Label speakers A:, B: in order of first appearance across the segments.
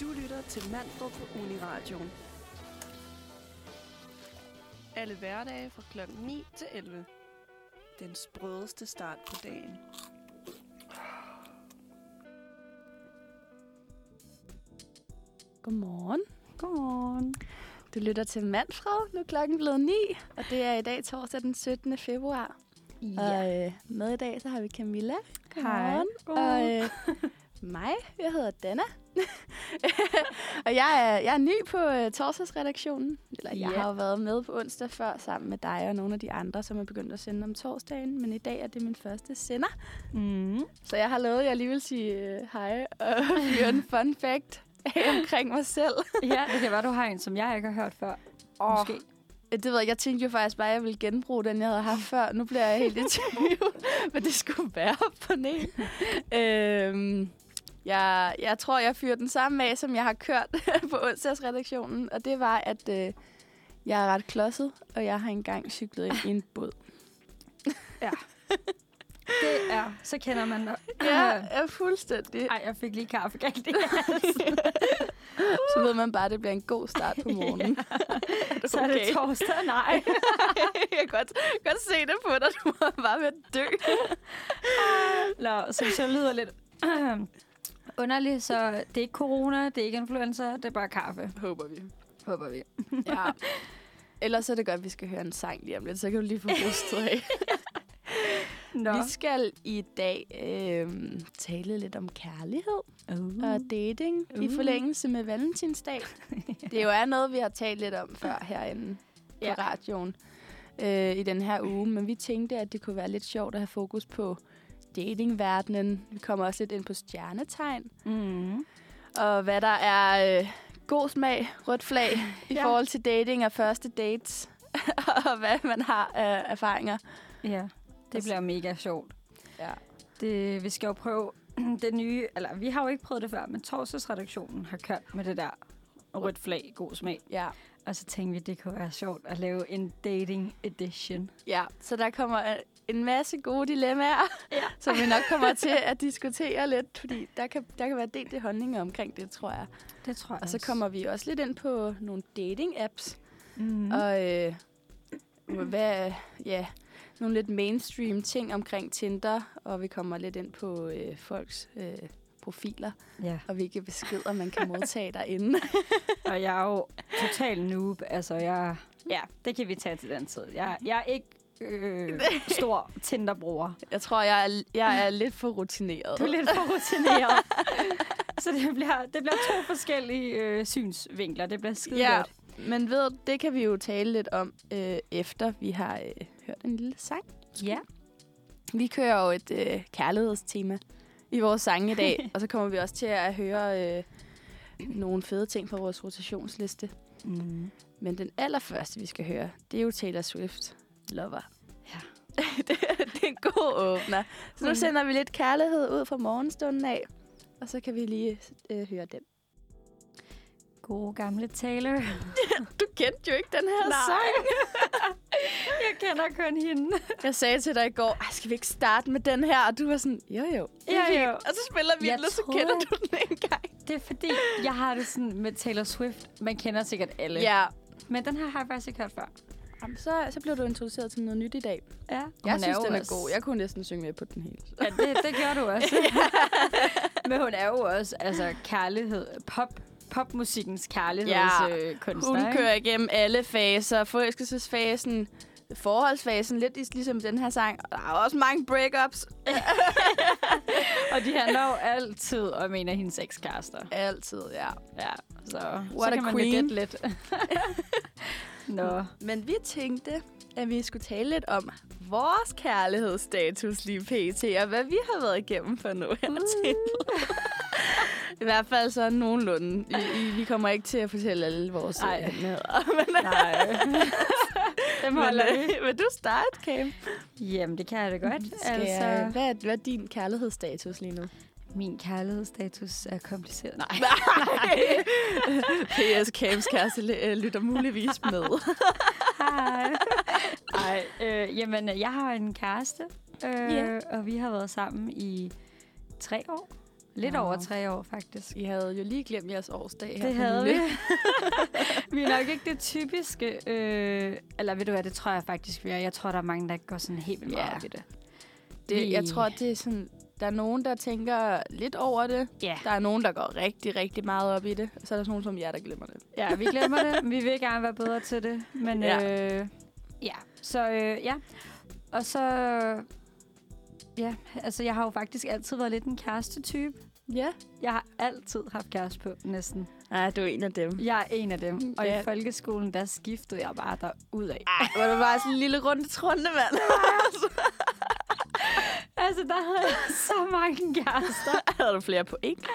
A: Du lytter til Manfred på Uniradioen. Alle hverdage fra kl. 9 til 11. Den sprødeste start på dagen.
B: Godmorgen.
A: Godmorgen.
B: Du lytter til Manfred. Nu er klokken blevet 9, og det er i dag torsdag den 17. februar. Og øh, med i dag så har vi Camilla. Godmorgen. Og øh, mig, jeg hedder Dana. og jeg er, jeg er ny på øh, torsdagsredaktionen. Eller jeg
C: Ja.
B: har jo været med på onsdag før sammen med dig og nogle af de andre, som er begyndt at sende om torsdagen. Men i dag er det min første sender.
C: øh,
A: Mm.
B: Så jeg har lovet, at jeg lige vil sige øh, hej og fyre en fun fact af omkring mig selv.
C: ja, det kan være, du har en, som jeg ikke har hørt før.
B: Åh.
C: Måske.
B: Ja, Det ved jeg, jeg tænkte jo faktisk bare, at jeg ville genbruge den, jeg havde haft før. Nu bliver jeg helt i tvivl, men det skulle være på den ene. øhm, jeg, jeg tror, jeg fyrer den samme af, som jeg har kørt på onsdagsredaktionen. Og det var, at øh, jeg er ret klodset, og jeg har engang cyklet ind i en båd.
C: Det er, så kender man dig.
B: Ja, ja fuldstændig.
C: Ej, jeg fik lige kaffe galt i halsen.
B: Så ved man bare, at det bliver en god start på morgenen. okay?
C: Så er det torsdag, nej.
B: jeg kan godt, godt se det på dig. Du var bare ved at dø.
C: Nå, så hvis jeg lyder lidt underligt, så det er ikke corona, det er ikke influenza, det er bare kaffe,
A: Håber vi.
C: håber vi.
B: Ja. Ellers er det godt, at vi skal høre en sang lige om lidt, så kan du lige få rustet af.
C: Nå.
B: Vi skal i dag øh, tale lidt om kærlighed
C: Uh.
B: og dating uh. i
C: Uh.
B: forlængelse med Valentinsdag. Det jo er noget, vi har talt lidt om før herinde på
C: Ja.
B: ja. radioen øh, i den her uge, men vi tænkte, at det kunne være lidt sjovt at have fokus på datingverdenen. Vi kommer også lidt ind på stjernetegn,
C: Mm.
B: og hvad der er øh, god smag, rødt flag i
C: Ja.
B: forhold til dating og første dates, og hvad man har af erfaringer.
C: Ja, det bliver mega sjovt.
B: Ja.
C: Det, vi skal jo prøve det nye, eller vi har jo ikke prøvet det før, men torsdagsredaktionen har kørt med det der rødt flag, god smag.
B: Ja.
C: Og så tænkte vi, det kunne være sjovt at lave en dating edition.
B: ja, så der kommer øh, en masse gode dilemmaer, ja. som vi nok kommer til at diskutere lidt, fordi der kan, der kan være delte holdninger omkring det, tror jeg.
C: Det tror jeg
B: Og så kommer vi også lidt ind på nogle dating-apps,
C: Mm.
B: mm. og øh, hvad, ja, nogle lidt mainstream ting omkring Tinder, og vi kommer lidt ind på øh, folks øh, profiler,
C: Ja,
B: og hvilke beskeder man kan modtage derinde.
C: og jeg er jo total noob. Altså, jeg... Ja, det kan vi tage til den tid. Jeg, jeg er ikke øh, stor Tinder-bruger.
B: Jeg tror, jeg er, jeg er lidt for rutineret.
C: Du er lidt for rutineret. så det bliver, det bliver to forskellige øh, synsvinkler. Det bliver skide
B: Ja,
C: godt.
B: men ved, det kan vi jo tale lidt om, øh, efter vi har øh, hørt en lille sang.
C: Ja.
B: Vi kører jo et øh, kærlighedstema i vores sange i dag, og så kommer vi også til at høre øh, nogle fede ting fra vores rotationsliste.
C: Mm.
B: Men den allerførste, vi skal høre, det er jo Taylor Swift. Lover.
C: Ja.
B: det, det er en god åbner. Så nu sender vi lidt kærlighed ud fra morgenstunden af, og så kan vi lige øh, høre den.
C: Gode gamle Taylor.
B: Du kendte jo ikke den her
C: Nej.
B: sang.
C: jeg kender kun hende.
B: Jeg sagde til dig i går, "Ej, skal vi ikke starte med den her? Og du var sådan, jo jo.
C: Ja,
B: Det er
C: jo.
B: fint." Og så spiller vi
C: Jeg
B: den, og så
C: troede,
B: kender
C: at-
B: du den ikke engang.
C: Det er fordi, jeg har det sådan med Taylor Swift. Man kender sikkert alle.
B: Ja,
C: Men den her har jeg faktisk ikke hørt før.
B: Jamen, så, så blev du introduceret til noget nyt i dag.
C: Ja.
B: Jeg synes, den er god. Jeg kunne næsten synge med på den hele.
C: Ja, det, det gjorde du også. Men hun er jo også altså, kærlighed, pop, popmusikkens øh,
B: Ja.
C: kærlighedskunstner.
B: Hun kører igennem alle faser. Forelskelsesfasen, forholdsfasen, lidt is- ligesom den her sang. Og Der er også mange breakups.
C: Og de handler jo altid om en af hendes ekskærester.
B: Altid, ja.
C: Ja, så, så
B: What a
C: kan man
B: queen.
C: jo gætte lidt. Nå.
B: Men vi tænkte, at vi skulle tale lidt om vores kærlighedsstatus lige pt. Og hvad vi har været igennem for nu
C: Uh.
B: hertil. I hvert fald så nogenlunde. I, I, vi kommer ikke til at fortælle alle vores øh,
C: Ej.
B: hemmeligheder. Men,
C: Nej. Dem
B: men,
C: holder vi.
B: øh, vil du starte, Cam?
C: Jamen, det kan jeg da godt.
B: Altså, hvad, er, hvad er din kærlighedsstatus lige nu?
C: min kærlighedsstatus er kompliceret. Nej.
B: P.S. Cams kæreste øh, lytter muligvis med.
C: Hej. Ej, øh, jamen, jeg har en kæreste, øh,
B: Ja.
C: og vi har været sammen i tre år. Lidt
B: Nå.
C: over tre år, faktisk.
B: I havde jo lige glemt jeres årsdag her.
C: Det
B: for
C: havde vi.
B: nylig.
C: vi er nok ikke det typiske. Øh, eller ved du hvad, det tror jeg faktisk, vi er. Jeg tror, der er mange, der ikke går sådan helt vildt meget
B: Ja.
C: op i det.
B: Det, jeg
C: Vi-
B: tror, det er sådan, der er nogen, der tænker lidt over det.
C: Ja.
B: Der er nogen, der går rigtig, rigtig meget op i det. Og så er der sådan nogen som jer, der glemmer det.
C: ja, vi glemmer det. Vi vil gerne være bedre til det. Men
B: Ja.
C: ja. Øh, ja, så øh, ja. Og så... Ja, altså jeg har jo faktisk altid været lidt en kæreste-type.
B: Ja.
C: Jeg har altid haft kæreste på, næsten.
B: Nej, du er en af dem.
C: Jeg er en af dem. Og
B: Ja.
C: i folkeskolen, der skiftede jeg bare derudad.
B: Ej, var du bare sådan en lille runde trunde, mand.
C: Altså, der havde jeg så mange kærester.
B: havde du flere point?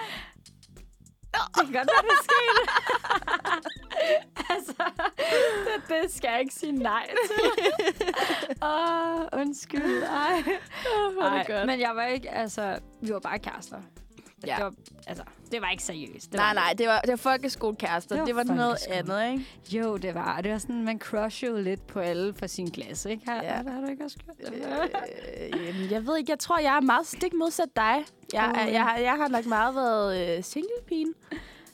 C: Det kan godt være, det skete. altså, det, det skal jeg ikke sige nej til. Åh, oh, undskyld. Ej.
B: Ej,
C: Ej, men jeg var ikke, altså, vi var bare kærester.
B: Ja.
C: Ja. Det var, altså, det var ikke seriøst. Det
B: Nej,
C: var,
B: nej, det var, det var folkeskolekærester.
C: Det
B: Det
C: var
B: var, det var noget
C: folkeskole.
B: andet, ikke?
C: Jo, det var. Og Det var sådan, man crushede jo lidt på alle for sin klasse, ikke? Har,
B: Ja.
C: ja. har du ikke også gjort det?
B: Øh, jamen, jeg ved ikke, jeg tror, jeg er meget stik modsat dig. Jeg,
C: Åh,
B: jeg, jeg, har- jeg har nok meget været øh, singlepigen.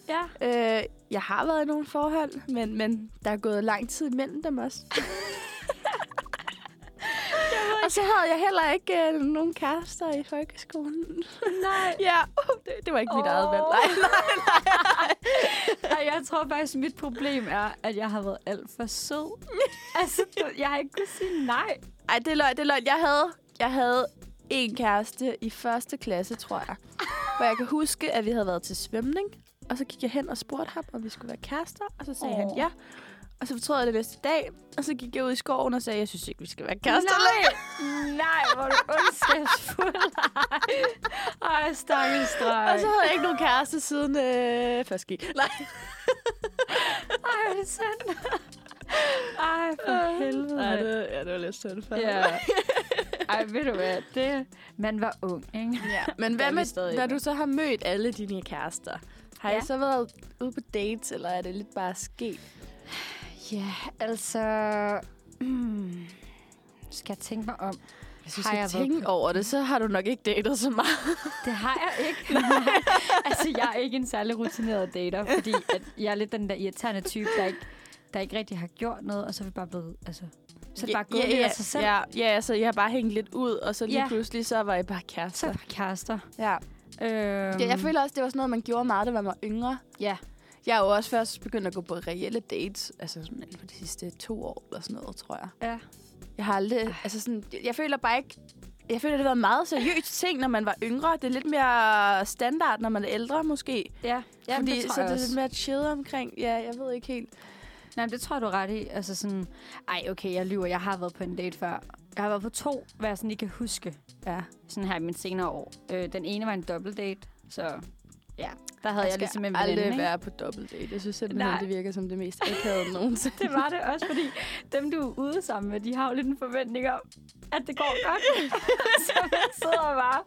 C: ja.
B: Øh, jeg har været i nogle forhold, men, men der er gået lang tid imellem dem også. og så havde jeg heller ikke øh, nogen kærester i folkeskolen.
C: Nej.
B: ja, uh, det, det var ikke mit eget valg.
C: Åh.
B: Nej, nej.
C: Ej, jeg tror faktisk, mit problem er, at jeg har været alt for sød. altså, du- jeg har ikke kunnet sige nej.
B: Ej, det er løgn, det er løgn. Jeg havde, jeg havde en kæreste i første klasse, tror jeg. Hvor jeg kan huske, at vi havde været til svømning. Og så gik jeg hen og spurgte ham, om vi skulle være kærester. Og så sagde oh. han
C: Åh.
B: ja. Og så fortrød jeg det næste dag. Og så gik jeg ud i skoven og sagde, jeg synes ikke, vi skal være kærester. længere."
C: Nej, nej, hvor er du ondskabsfuld. Ej, Ej stakkels dreng.
B: Og så havde jeg ikke nogen kæreste siden øh, først gik. Nej.
C: Ej, hvor er det sandt. Ej, for helvede.
B: Nej,
C: mand.
B: det, ja, det var lidt sødt for
C: Ja. Ej, ved du hvad, det... Man var ung, ikke?
B: ja. Men
C: Det er
B: hvad
C: vi
B: med,
C: stadig
B: når
C: ikke.
B: du så har mødt alle dine kærester? Har ja. I
C: Ja.
B: så været ude på dates, eller er det lidt bare sket?
C: Ja, altså... Mm, skal jeg tænke mig om?
B: Hvis du
C: Har
B: skal
C: jeg været
B: tænke over det, så har du nok ikke datet så meget.
C: Det har jeg ikke. altså, jeg er ikke en særlig rutineret dater, fordi at jeg er lidt den der irriterende type, der ikke, der ikke rigtig har gjort noget, og så er vi bare blevet... Altså, så er det bare gået lidt af sig selv.
B: Ja, ja, så jeg har bare hængt lidt ud, og så lige
C: Ja.
B: pludselig, så var I bare
C: Så
B: kærester.
C: er det bare kærester.
B: Ja.
C: Øhm,
B: ja. Jeg føler også, det var sådan noget, man gjorde meget, da man var yngre.
C: Ja.
B: Jeg er jo også først begyndt at gå på reelle dates, altså sådan inden for de sidste to år eller sådan noget, tror jeg.
C: Ja.
B: Jeg har aldrig, altså sådan, jeg, jeg føler bare ikke, jeg føler, det var en meget seriøs ting, når man var yngre. Det er lidt mere standard, når man er ældre, måske.
C: Ja, ja
B: Fordi,
C: Fordi, det tror
B: så
C: så jeg
B: det
C: det
B: er
C: også.
B: lidt mere chill omkring. Ja, jeg ved ikke helt.
C: Nej, men det tror jeg, du er ret i. Altså sådan, ej, okay, jeg lyver. Jeg har været på en date før. Jeg har været på to, hvad jeg sådan ikke kan huske.
B: Ja.
C: Sådan her i mine senere år. Øh, den ene var en dobbeltdate, så ja, der havde jeg,
B: Jeg,
C: jeg
B: skal
C: ligesom en
B: aldrig
C: veninde. ikke?
B: være på dobbeltdate. Jeg synes simpelthen,
C: Nej.
B: det virker som det mest akavede nogensinde.
C: Det var det også, fordi dem, du er ude sammen med, de har jo lidt en forventning om, at det går godt. så man sidder bare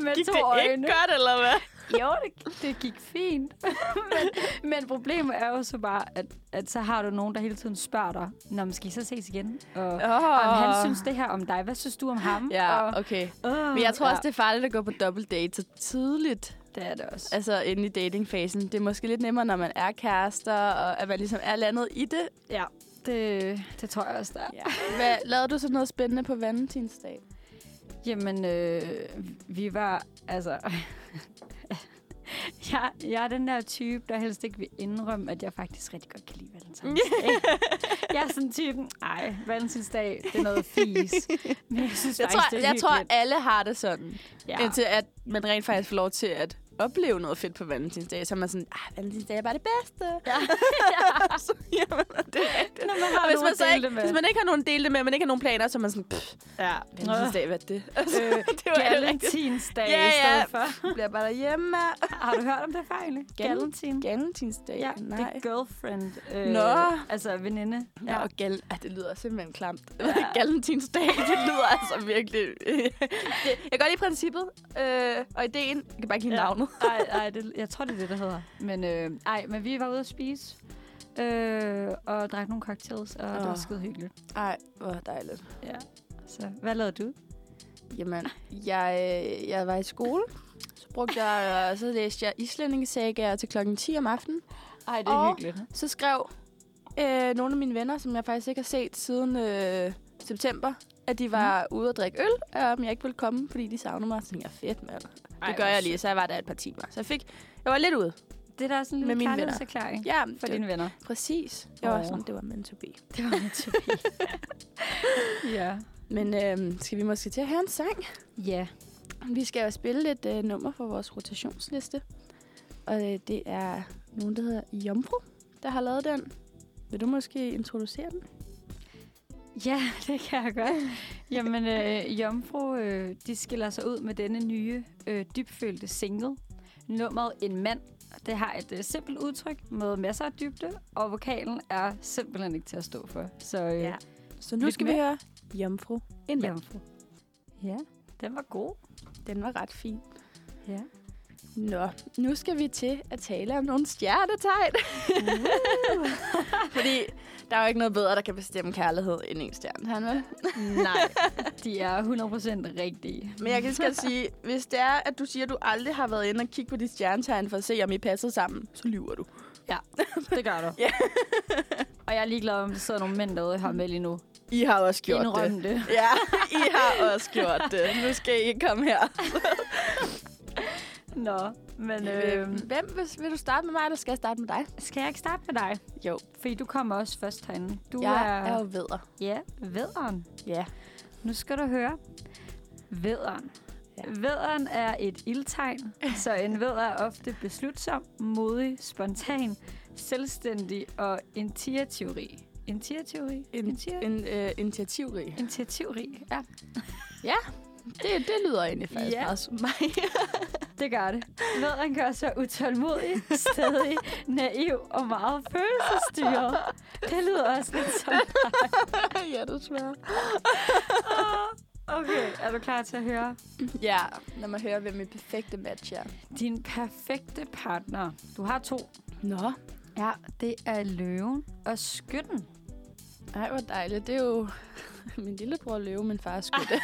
C: med to øjne.
B: godt, eller hvad?
C: Jo, det, det gik fint. men, men problemet er jo så bare, at, at så har du nogen, der hele tiden spørger dig, Nå, men skal I så ses igen? Og, oh.
B: Oh.
C: om han synes det her om dig. Hvad synes du om ham?
B: Ja,
C: og,
B: okay.
C: oh,
B: Men jeg tror også, det er farligt at gå på dobbeltdate så tidligt.
C: det, det er det også.
B: Altså inde i datingfasen. Det er måske lidt nemmere, når man er kærester, og at man ligesom er landet i det.
C: Ja, det, det tror jeg også, der er.
B: Ja. Hvad, lavede du så noget spændende på Valentinsdag?
C: Jamen, øh, vi var, altså... jeg, jeg er den der type, der helst ikke vil indrømme, at jeg faktisk rigtig godt kan lide valentinsdag. jeg er sådan typen, ej, valentinsdag, det er noget fis. Men jeg synes
B: Jeg
C: faktisk,
B: tror,
C: det er
B: jeg tror
C: hyggeligt.
B: alle har det sådan. Ja.
C: ja.
B: Indtil at man rent faktisk får lov til at opleve noget fedt på Valentinsdag. Så er man sådan, ah, Valentinsdag er bare det bedste.
C: Ja.
B: Så, jamen, det er rigtigt.
C: Når man har
B: Og hvis
C: nogen
B: man,
C: at
B: så
C: dele
B: ikke,
C: det med.
B: hvis man ikke har nogen at dele det med, og man ikke har nogen planer, så er man sådan, pff,
C: ja.
B: Valentinsdag, hvad er det?
C: Øh,
B: det var det rigtigt.
C: Galentinsdag
B: Ja,
C: i
B: ja.
C: stedet for.
B: bliver bare derhjemme.
C: Har du hørt om det før egentlig?
B: Gal-
C: Galentin.
B: Galentinsdag?
C: Ja,
B: øh, Nej.
C: det er girlfriend. Øh,
B: Nå.
C: Altså veninde.
B: Ja, og gal ah, det lyder simpelthen klamt. Ja. Galentinsdag, det lyder altså virkelig... det, jeg kan godt lide princippet øh, og ideen. Jeg kan bare ikke lide ja. navnet.
C: Nej, nej, det, jeg tror, det er det, der hedder. Men, øh, ej, men vi var ude at spise. Øh, og drak nogle cocktails, og oh. det var
B: Åh.
C: skide hyggeligt.
B: Ej, hvor dejligt.
C: Ja. Så hvad lavede du?
B: Jamen, øh, jeg, jeg var i skole, Så, brugte jeg, øh, så læste jeg islændingesagaer til klokken 10 om aftenen.
C: Ej, det
B: er
C: er
B: Og-
C: og... hyggeligt.
B: Så skrev øh, nogle af mine venner, som jeg faktisk ikke har set siden øh, september, at de var mm. ude at drikke øl, og om jeg ikke ville komme, fordi de savnede mig. Så tænkte jeg, fedt mand. Det gør jeg lige. Så jeg var der et par timer. Så jeg, fik, jeg var lidt ude.
C: Det er da sådan en
B: Med
C: lille
B: mine venner.
C: kærlighedserklæring
B: Ja,
C: for
B: det,
C: dine venner.
B: præcis. Jeg var
C: Åh.
B: sådan, det var meant to be.
C: Det var mit Ja.
B: Men øh, skal vi måske til at høre en sang?
C: Ja.
B: Vi skal jo spille et øh, nummer for vores rotationsliste. Og øh, det er nogen, der hedder Jomfru, der har lavet den. Vil du måske introducere den?
C: Ja, det kan jeg godt. Jamen, øh, Jomfru, øh, de skiller sig ud med denne nye, øh, dybfølte single. Nummeret En Mand. Det har et øh, simpelt udtryk med masser af dybde, og vokalen er simpelthen ikke til at stå for. Så øh,
B: Ja.
C: ja.
B: Så nu
C: Lidt
B: skal vi
C: med.
B: høre Jomfru. En mand.
C: Jomfru. Ja, den var god.
B: Den var ret fin.
C: Ja.
B: Nå, nu skal vi til at tale om nogle stjernetegn. Uh. Fordi der er jo ikke noget bedre, der kan bestemme kærlighed end en stjerne. Han, vel?
C: Nej, de er 100% rigtige.
B: Men jeg kan lige så godt sige, hvis det er, at du siger, at du aldrig har været inde og kigge på dit stjernetegn for at se, om I passer sammen, så lyver du.
C: Det gør du.
B: Ja.
C: og jeg er ligeglad, om der sidder nogle mænd derude her med lige nu.
B: I har også gjort det.
C: Indrøm det.
B: Ja, I har også gjort det. Nu skal I ikke komme her.
C: Nå, men øh,
B: øhm, Hvem vil, vil du starte med mig, eller skal jeg starte med dig?
C: skal jeg ikke starte med dig?
B: Jo.
C: Fordi du kommer også først herinde. Du
B: Jeg
C: er,
B: er jo vedder.
C: ja, vederen.
B: Ja.
C: Nu skal du høre. Vederen.
B: Ja.
C: Ja. Vederen er et ildtegn, så en vedder er ofte beslutsom, modig, spontan, selvstændig og initiativrig. Initiativrig?
B: En,
C: Initiativrig?
B: en øh, initiativrig.
C: Initiativrig, ja.
B: Det, det lyder egentlig faktisk
C: Ja.
B: meget som mig.
C: Det gør det. Vederen gør sig utålmodig, stadig, naiv og meget følelsesstyret. Det lyder også lidt som...
B: ja, desværre.
C: Okay, er du klar til at høre?
B: Ja, lad mig høre, hvem min perfekte match er.
C: Din perfekte partner. Du har to.
B: Nå,
C: Ja, det er løven og skytten.
B: ej, hvor dejligt. Det er jo min lillebror Løve, min far skytte.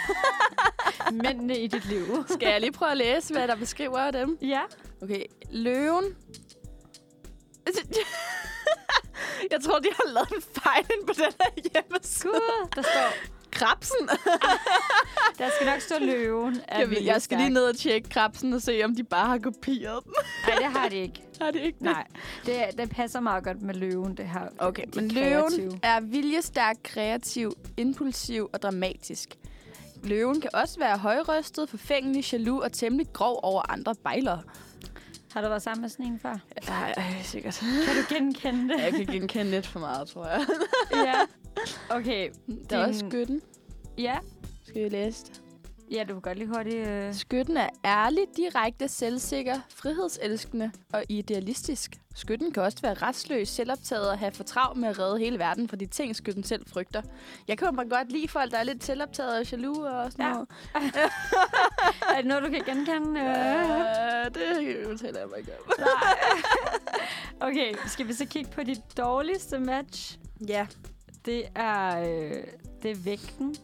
C: Mændene i dit liv.
B: Skal jeg lige prøve at læse, hvad der beskriver dem?
C: Ja.
B: Okay, Løven. Jeg tror, de har lavet en fejl inde på den her hjemmeside.
C: Gud, der står...
B: Krabsen.
C: Der skal nok stå løven. er
B: Jeg, vil, jeg skal lige
C: viljestærk.
B: ned og tjekke krabsen og se, om de bare har kopieret dem.
C: Nej, det har det ikke.
B: Har de ikke det?
C: Nej, det, er- det passer meget godt med løven, det her.
B: Okay,
C: De
B: men
C: kreative.
B: løven er viljestærk, kreativ, impulsiv og dramatisk. Løven kan også være højrøstet, forfængelig, jaloux og temmelig grov over andre bejlere.
C: Har du været sammen med sådan en før?
B: Nej, sikkert.
C: Kan du genkende det?
B: Jeg kan genkende lidt for meget, tror jeg.
C: ja. Okay.
B: Der er
C: Din-
B: også skytten.
C: Ja.
B: Skal vi læse det?
C: Ja, du kan godt lige hurtigt... Øh...
B: Skytten er ærlig, direkte, selvsikker, frihedselskende og idealistisk. Skytten kan også være restløs, selvoptaget og have for travlt med at redde hele verden fra de ting, skytten selv frygter. Jeg kan bare godt lide folk, der er lidt selvoptaget og jaloux og sådan
C: Ja.
B: noget.
C: Er det noget, du kan genkende? Øh...
B: Øh, det udtaler jeg mig ikke om.
C: Okay, skal vi så kigge på dit dårligste match?
B: Ja.
C: Det er, øh, det er vægten.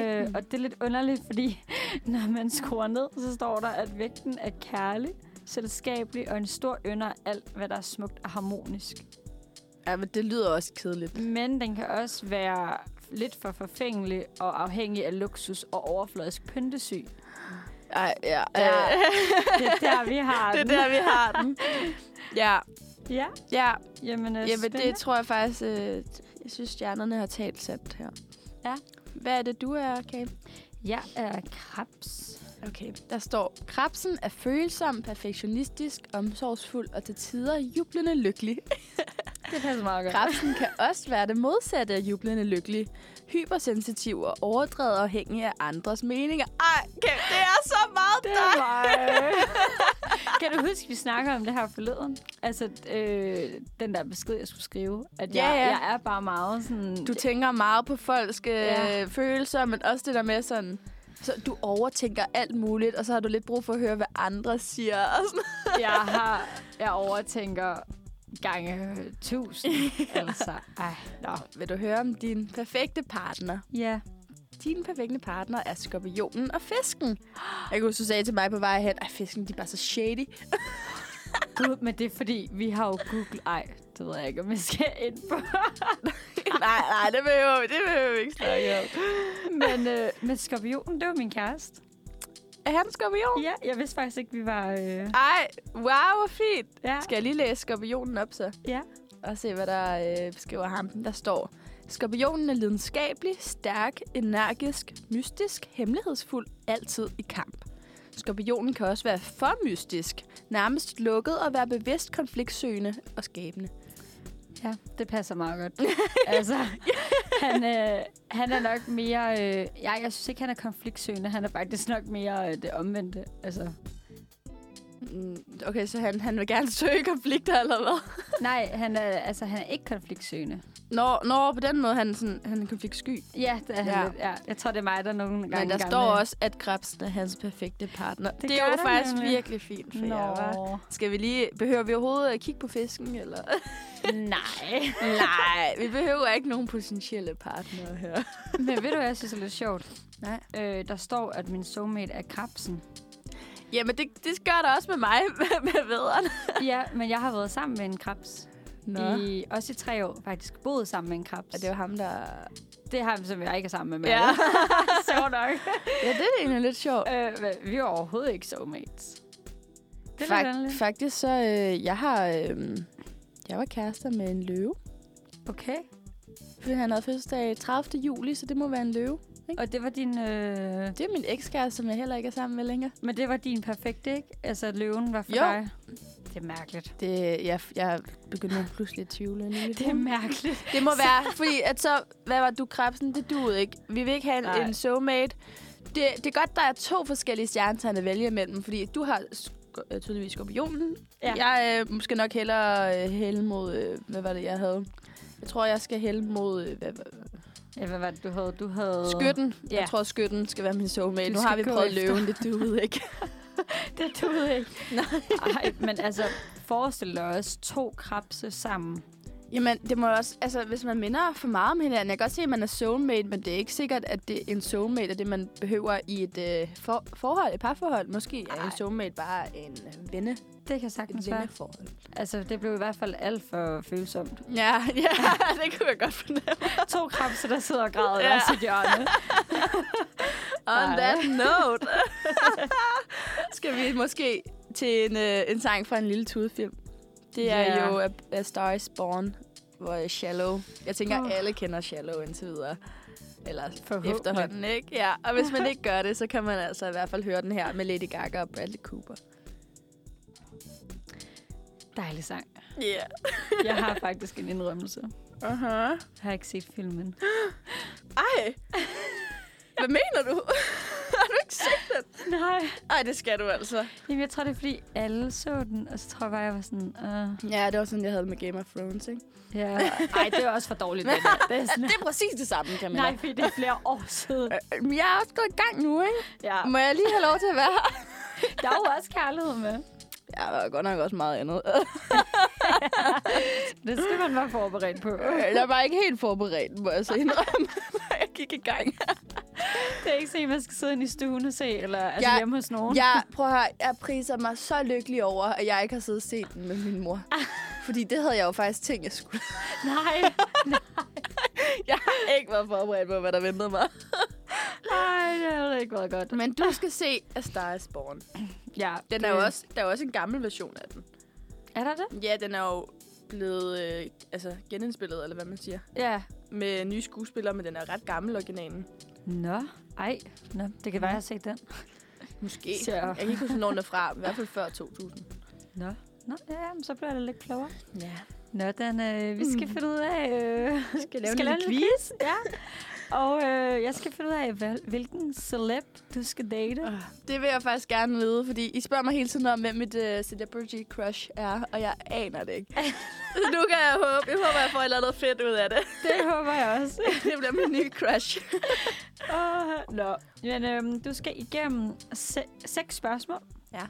C: Øh, og det er lidt underligt, fordi når man skruer ned, så står der, at vægten er kærlig, selskabelig og en stor ynder af alt, hvad der er smukt og harmonisk.
B: ja, men det lyder også kedeligt.
C: Men den kan også være lidt for forfængelig og afhængig af luksus og overfladisk pyntesyg.
B: Ej, ja.
C: Ja.
B: Øh,
C: Det er der, vi har
B: det er
C: den.
B: der, vi har den. Ja,
C: Ja,
B: ja.
C: jamen, øh,
B: Jamen, det
C: spændende.
B: tror jeg faktisk, øh, jeg synes, stjernerne har talt sandt her.
C: Ja.
B: Hvad er det, du er, Kate?
C: Jeg er krebs.
B: Okay, der står, Krabsen er følsom, perfektionistisk, omsorgsfuld og til tider jublende lykkelig.
C: Det passer meget godt.
B: Krabsen kan også være det modsatte af jublende lykkelig. Hypersensitiv og overdrevet afhængig af andres meninger. Ej, Kate, det er så meget
C: Det
B: dig!
C: er mig. kan du huske, vi snakker om det her forleden? Altså, øh, den der besked, jeg skulle skrive. At
B: Ja,
C: jeg,
B: ja.
C: jeg er bare meget sådan...
B: Du tænker meget på folks øh, ja.
C: Ja.
B: følelser, men også det der med sådan... Så du overtænker alt muligt, og så har du lidt brug for at høre, hvad andre siger. Og sådan.
C: jeg, har, jeg overtænker gange tusind. altså, ej, nå.
B: Vil du høre om din perfekte partner?
C: Ja,
B: Din perfekte partner er skorpionen og fisken. Jeg kunne huske, du sagde til mig på vej hen, at fisken de er bare så shady.
C: Gud, men det er fordi, vi har jo Google... Ej, det ved jeg ikke, om jeg skal ind på.
B: nej, nej, det behøver vi, det behøver vi ikke snakke om.
C: men, øh, men skorpionen, det var min kæreste.
B: Er han skorpion?
C: Ja, jeg vidste faktisk ikke, vi var... Øh,
B: Oh. Ej, wow, hvor fint.
C: ja.
B: Skal jeg lige læse skorpionen op så?
C: Ja.
B: Og se, hvad der øh, beskriver ham. Der står, skorpionen er lidenskabelig, stærk, energisk, mystisk, hemmelighedsfuld, altid i kamp. Skorpionen kan også være for mystisk, nærmest lukket og være bevidst konfliktsøgende og skabende.
C: Ja, det passer meget godt. altså, han, øh, han er nok mere... Øh, ja, jeg synes ikke, han er konfliktsøgende. Han er faktisk nok mere øh, det omvendte. Altså,
B: Mm, Okay, så han, han vil gerne søge konflikter eller hvad?
C: nej, han er, altså, han er ikke konfliktsøgende.
B: Nå, nå på den måde, han, er sådan, han er konfliktsky.
C: Ja, det er han
B: Ja.
C: ja. lidt. Ja. Jeg tror, det er mig, der nogle gange...
B: Men der
C: gamle-
B: står også, at krebsen er hans perfekte partner. Det, det
C: gør
B: er jo
C: der
B: faktisk
C: nemlig.
B: virkelig fint for Nå. jer, hva'?
C: Nå,
B: Skal vi lige... Behøver vi overhovedet at kigge på fisken, eller?
C: nej.
B: Nej, vi behøver ikke nogen potentielle partnere her.
C: Men ved du, hvad jeg synes er lidt sjovt?
B: Nej.
C: Øh, der står, at min soulmate er krabsen.
B: Jamen, det, det gør der også med mig, med, med vederen.
C: ja, men jeg har været sammen med en krabs.
B: I,
C: I, også i tre år faktisk boet sammen med en krabs.
B: og det var ham, der...
C: det har vi, som jeg ikke er sammen med. men-
B: Ja.
C: så nok.
B: ja, det er egentlig lidt sjovt.
C: øh, men vi er overhovedet ikke soulmates. Det er lidt
B: Fak-
C: underligt.
B: faktisk så, øh, jeg har... Øh, jeg var kærester med en løve.
C: Okay.
B: Fordi han havde fødselsdag 30. juli, så det må være en løve.
C: Og det var din... Øh...
B: Det er min ekskæreste, som jeg heller ikke er sammen med længere.
C: Men det var din perfekte, ikke? Altså, at løven var for
B: Jo.
C: dig. Det er mærkeligt.
B: Det, jeg, jeg begynder pludselig at tvivle. en lille
C: Det er
B: smule.
C: mærkeligt.
B: det må være, fordi at så, hvad var du, krebsen, det duede ikke. Vi vil ikke have
C: Nej.
B: en, en soulmate. Det, det er godt, der er to forskellige stjernetegn at vælge imellem, fordi du har sk- øh, tydeligvis skorpionen.
C: Ja.
B: Ja. Jeg øh, måske nok hellere øh, hælde mod, øh, hvad var det, jeg havde? Jeg tror, jeg skal hælde mod øh, hvad, hvad-
C: Ja, hvad var det, du havde? Du havde...
B: skytten.
C: Ja.
B: Jeg tror, skytten skal være min soulmate.
C: Du
B: Nu har
C: skal
B: vi
C: gå
B: prøvet
C: efter.
B: løven, det duede ikke.
C: Det duede ikke.
B: Nej.
C: Ej, men altså, forestil dig også to krabse sammen.
B: Jamen, det må også... Altså, hvis man minder for meget om hinanden... Jeg kan godt se, at man er soulmate, men det er ikke sikkert, at det en soulmate er det, man behøver i et øh, for, forhold, et parforhold. Måske er en
C: Ej.
B: soulmate bare en øh, venne, et
C: Det kan sagtens være.
B: venneforhold.
C: Altså, det blev i hvert fald alt for følsomt.
B: Ja, ja, det kunne jeg godt fornemme.
C: To krabse, der sidder og græder i
B: Ja.
C: ja. sit hjørne.
B: On
C: Ej.
B: that note, skal vi måske til en, øh, en sang fra en lille tudefilm. Det er
C: Ja.
B: yeah. jo A, A Star Is Born, hvor øh, Shallow... Jeg tænker,
C: Uh.
B: uh. alle kender Shallow indtil videre. Eller
C: Forhåbentlig.
B: efterhånden, ikke? Ja, og hvis man ikke gør det, så kan man altså i hvert fald høre den her med Lady Gaga og Bradley Cooper.
C: Dejlig sang.
B: Ja.
C: Jeg har faktisk en indrømmelse.
B: Yeah. Aha.
C: Jeg har ikke set filmen.
B: Ej! Hvad mener du? Har du ikke set den?
C: Nej.
B: Ej, det skal du altså.
C: Jamen, jeg tror, det er, fordi alle så den, og så tror jeg bare, jeg var sådan... Uh,
B: Ja, det var sådan, jeg havde det med Game of Thrones, ikke?
C: ja. Ej, det er også for dårligt. Det, der. det er sådan,
B: Det er præcis det samme, kan man
C: nej, fordi det er flere år siden.
B: Men Øh, jeg er også gået i gang nu, ikke?
C: Ja.
B: Må jeg lige have lov til at være her?
C: Der er jo også kærlighed med.
B: Jeg var godt nok også meget andet.
C: Det skal man være forberedt på.
B: Jeg var ikke helt forberedt, må jeg så indrømme, når jeg gik i gang.
C: Det er ikke sådan, man skal sidde inde i stuen og se, eller altså
B: Jeg-
C: hjemme hos nogen.
B: Jeg, prøv at høre, jeg priser mig så lykkelig over, at jeg ikke har siddet og set den med min mor. Fordi det havde jeg jo faktisk tænkt, jeg skulle.
C: Nej,
B: Jeg har ikke været forberedt på, hvad der ventede mig.
C: nej, det har ikke været godt.
B: Men du skal se A Star is Born.
C: Ja,
B: Den er jo også, der er jo også en gammel version af den.
C: Er der det?
B: Ja, den er jo blevet øh, altså, genindspillet, eller hvad man siger.
C: Ja.
B: Med nye skuespillere, men den er ret gammel, originalen.
C: Nå, ej. Nå, det kan være, jeg har set den.
B: Måske.
C: Så-
B: Jeg kan ikke huske, hvornår den er fra. I hvert fald før 2000.
C: Nå. Nå, ja, ja, men så bliver det lidt klogere.
B: Ja.
C: Nå, den, øh, vi skal finde ud af... Øh,
B: Mm. Vi skal lave
C: skal
B: en
C: lave
B: lille
C: en
B: quiz.
C: quiz. ja. Og øh, jeg skal finde ud af, hvil- hvilken celeb du skal date.
B: Øh, Det vil jeg faktisk gerne vide, fordi I spørger mig hele tiden om, hvem mit uh, celebrity crush er, og jeg aner det ikke. Så nu kan jeg håbe. Jeg håber, jeg får et eller andet fedt ud af det.
C: Det håber jeg også.
B: Det bliver min nye crush.
C: Uh, Nå. Men øhm, du skal igennem se- seks spørgsmål.
B: Ja.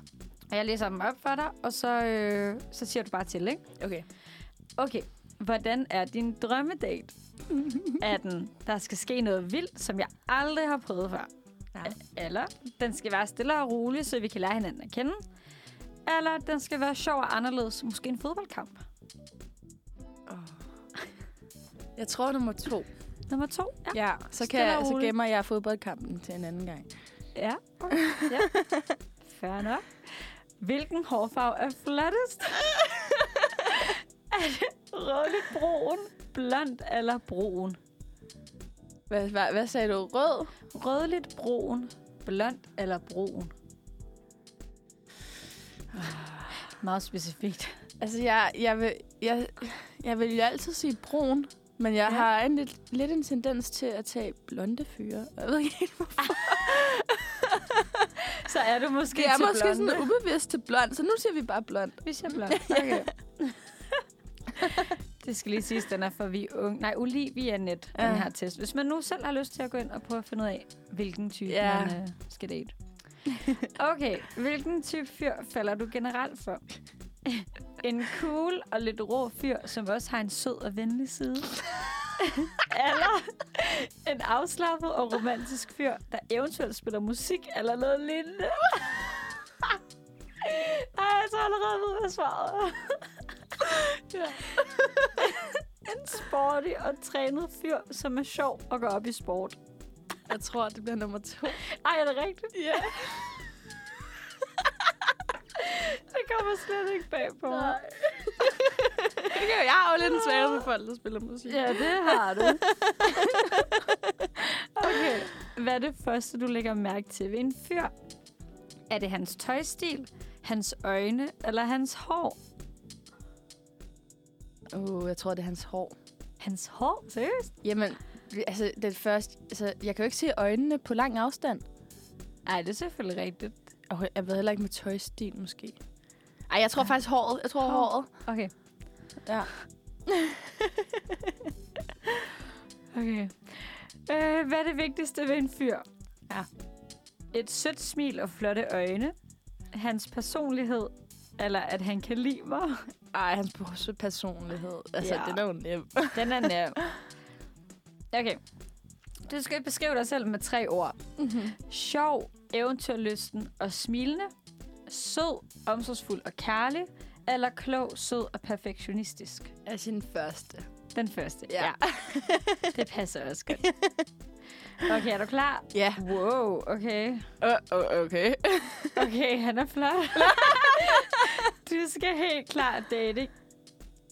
C: Og jeg læser dem op for dig, og så, øh, så siger du bare til, ikke?
B: Okay.
C: Okay. Hvordan er din drømmedate? er den, der skal ske noget vildt, som jeg aldrig har prøvet før?
A: Ja.
C: Eller den skal være stille og rolig, så vi kan lære hinanden at kende? Eller den skal være sjov og anderledes, måske en fodboldkamp?
B: Jeg tror nummer to.
C: Nummer to. Ja.
B: Ja, så, kan
C: stille og
B: jeg, så
C: roligt.
B: gemmer jeg fodboldkampen til en anden gang.
C: Ja. ja. Fair nok. Hvilken hårfarve er flottest? er det rødlig-brun, blond eller brun?
B: Hvad, hvad, hvad sagde du? Rød?
C: Rødligt-brun, blond eller brun? Ah, Meget specifikt.
B: Altså, jeg, jeg, vil, jeg, jeg vil jo altid sige brun, men jeg
C: Ja.
B: ja. har en lidt, lidt en tendens til at tage blonde fyre. Jeg ved ikke helt, hvorfor.
C: Så er du måske
B: Det er
C: til
B: måske
C: blonde.
B: sådan ubevidst til blond, så nu siger vi bare blond.
C: Vi siger blond. Okay. det skal lige siges, den er for vi unge. Nej, Olivia net, ja.
B: Ja.
C: den her test. Hvis man nu selv har lyst til at gå ind og prøve at finde ud af, hvilken type ja.
B: Ja.
C: man øh, skal date. Okay, hvilken type fyr falder du generelt for? En cool og lidt rå fyr, som også har en sød og venlig side. eller en afslappet og romantisk fyr, der eventuelt spiller musik eller noget lignende. Ej, jeg tror allerede ved, hvad svaret ja. En sporty og trænet fyr, som er sjov og går op i sport.
B: Jeg tror, det bliver nummer to.
C: Ej, er det rigtigt?
B: Ja.
C: Det kommer slet ikke bag på mig.
B: Nej. Okay, jeg har jo lidt en svaghed for folk, der spiller musik.
C: Ja, det har du. okay. Hvad er det første, du lægger mærke til ved en fyr? Er det hans tøjstil, hans øjne eller hans hår?
B: Uh, jeg tror, det er hans hår.
C: Hans hår? Seriøst?
B: Jamen, altså, det første... Altså, jeg kan jo ikke se øjnene på lang afstand.
C: Nej, det er selvfølgelig rigtigt.
B: Og jeg ved heller ikke med tøjstil, måske. Ej, jeg tror faktisk håret. Jeg tror
C: Hår.
B: hår. håret.
C: Okay.
B: Ja.
C: Okay. Øh, hvad er det vigtigste ved en fyr? Ja. Et sødt smil og flotte øjne. Hans personlighed. Eller at han kan lide mig.
B: Ej, hans pers- personlighed. Altså,
C: Ja.
B: ja. den er jo nem.
C: Den er nem. Okay. Du skal beskrive dig selv med tre ord. Mm-hmm. Sjov, eventyrlysten og smilende. Sød, omsorgsfuld og kærlig. Eller klog, sød og perfektionistisk.
B: Er sin første.
C: Den første.
B: Ja.
C: Det passer også godt. Okay, er du klar?
B: Ja.
C: Wow, okay.
B: Uh, uh, okay.
C: Okay, han er flot. du skal helt klart date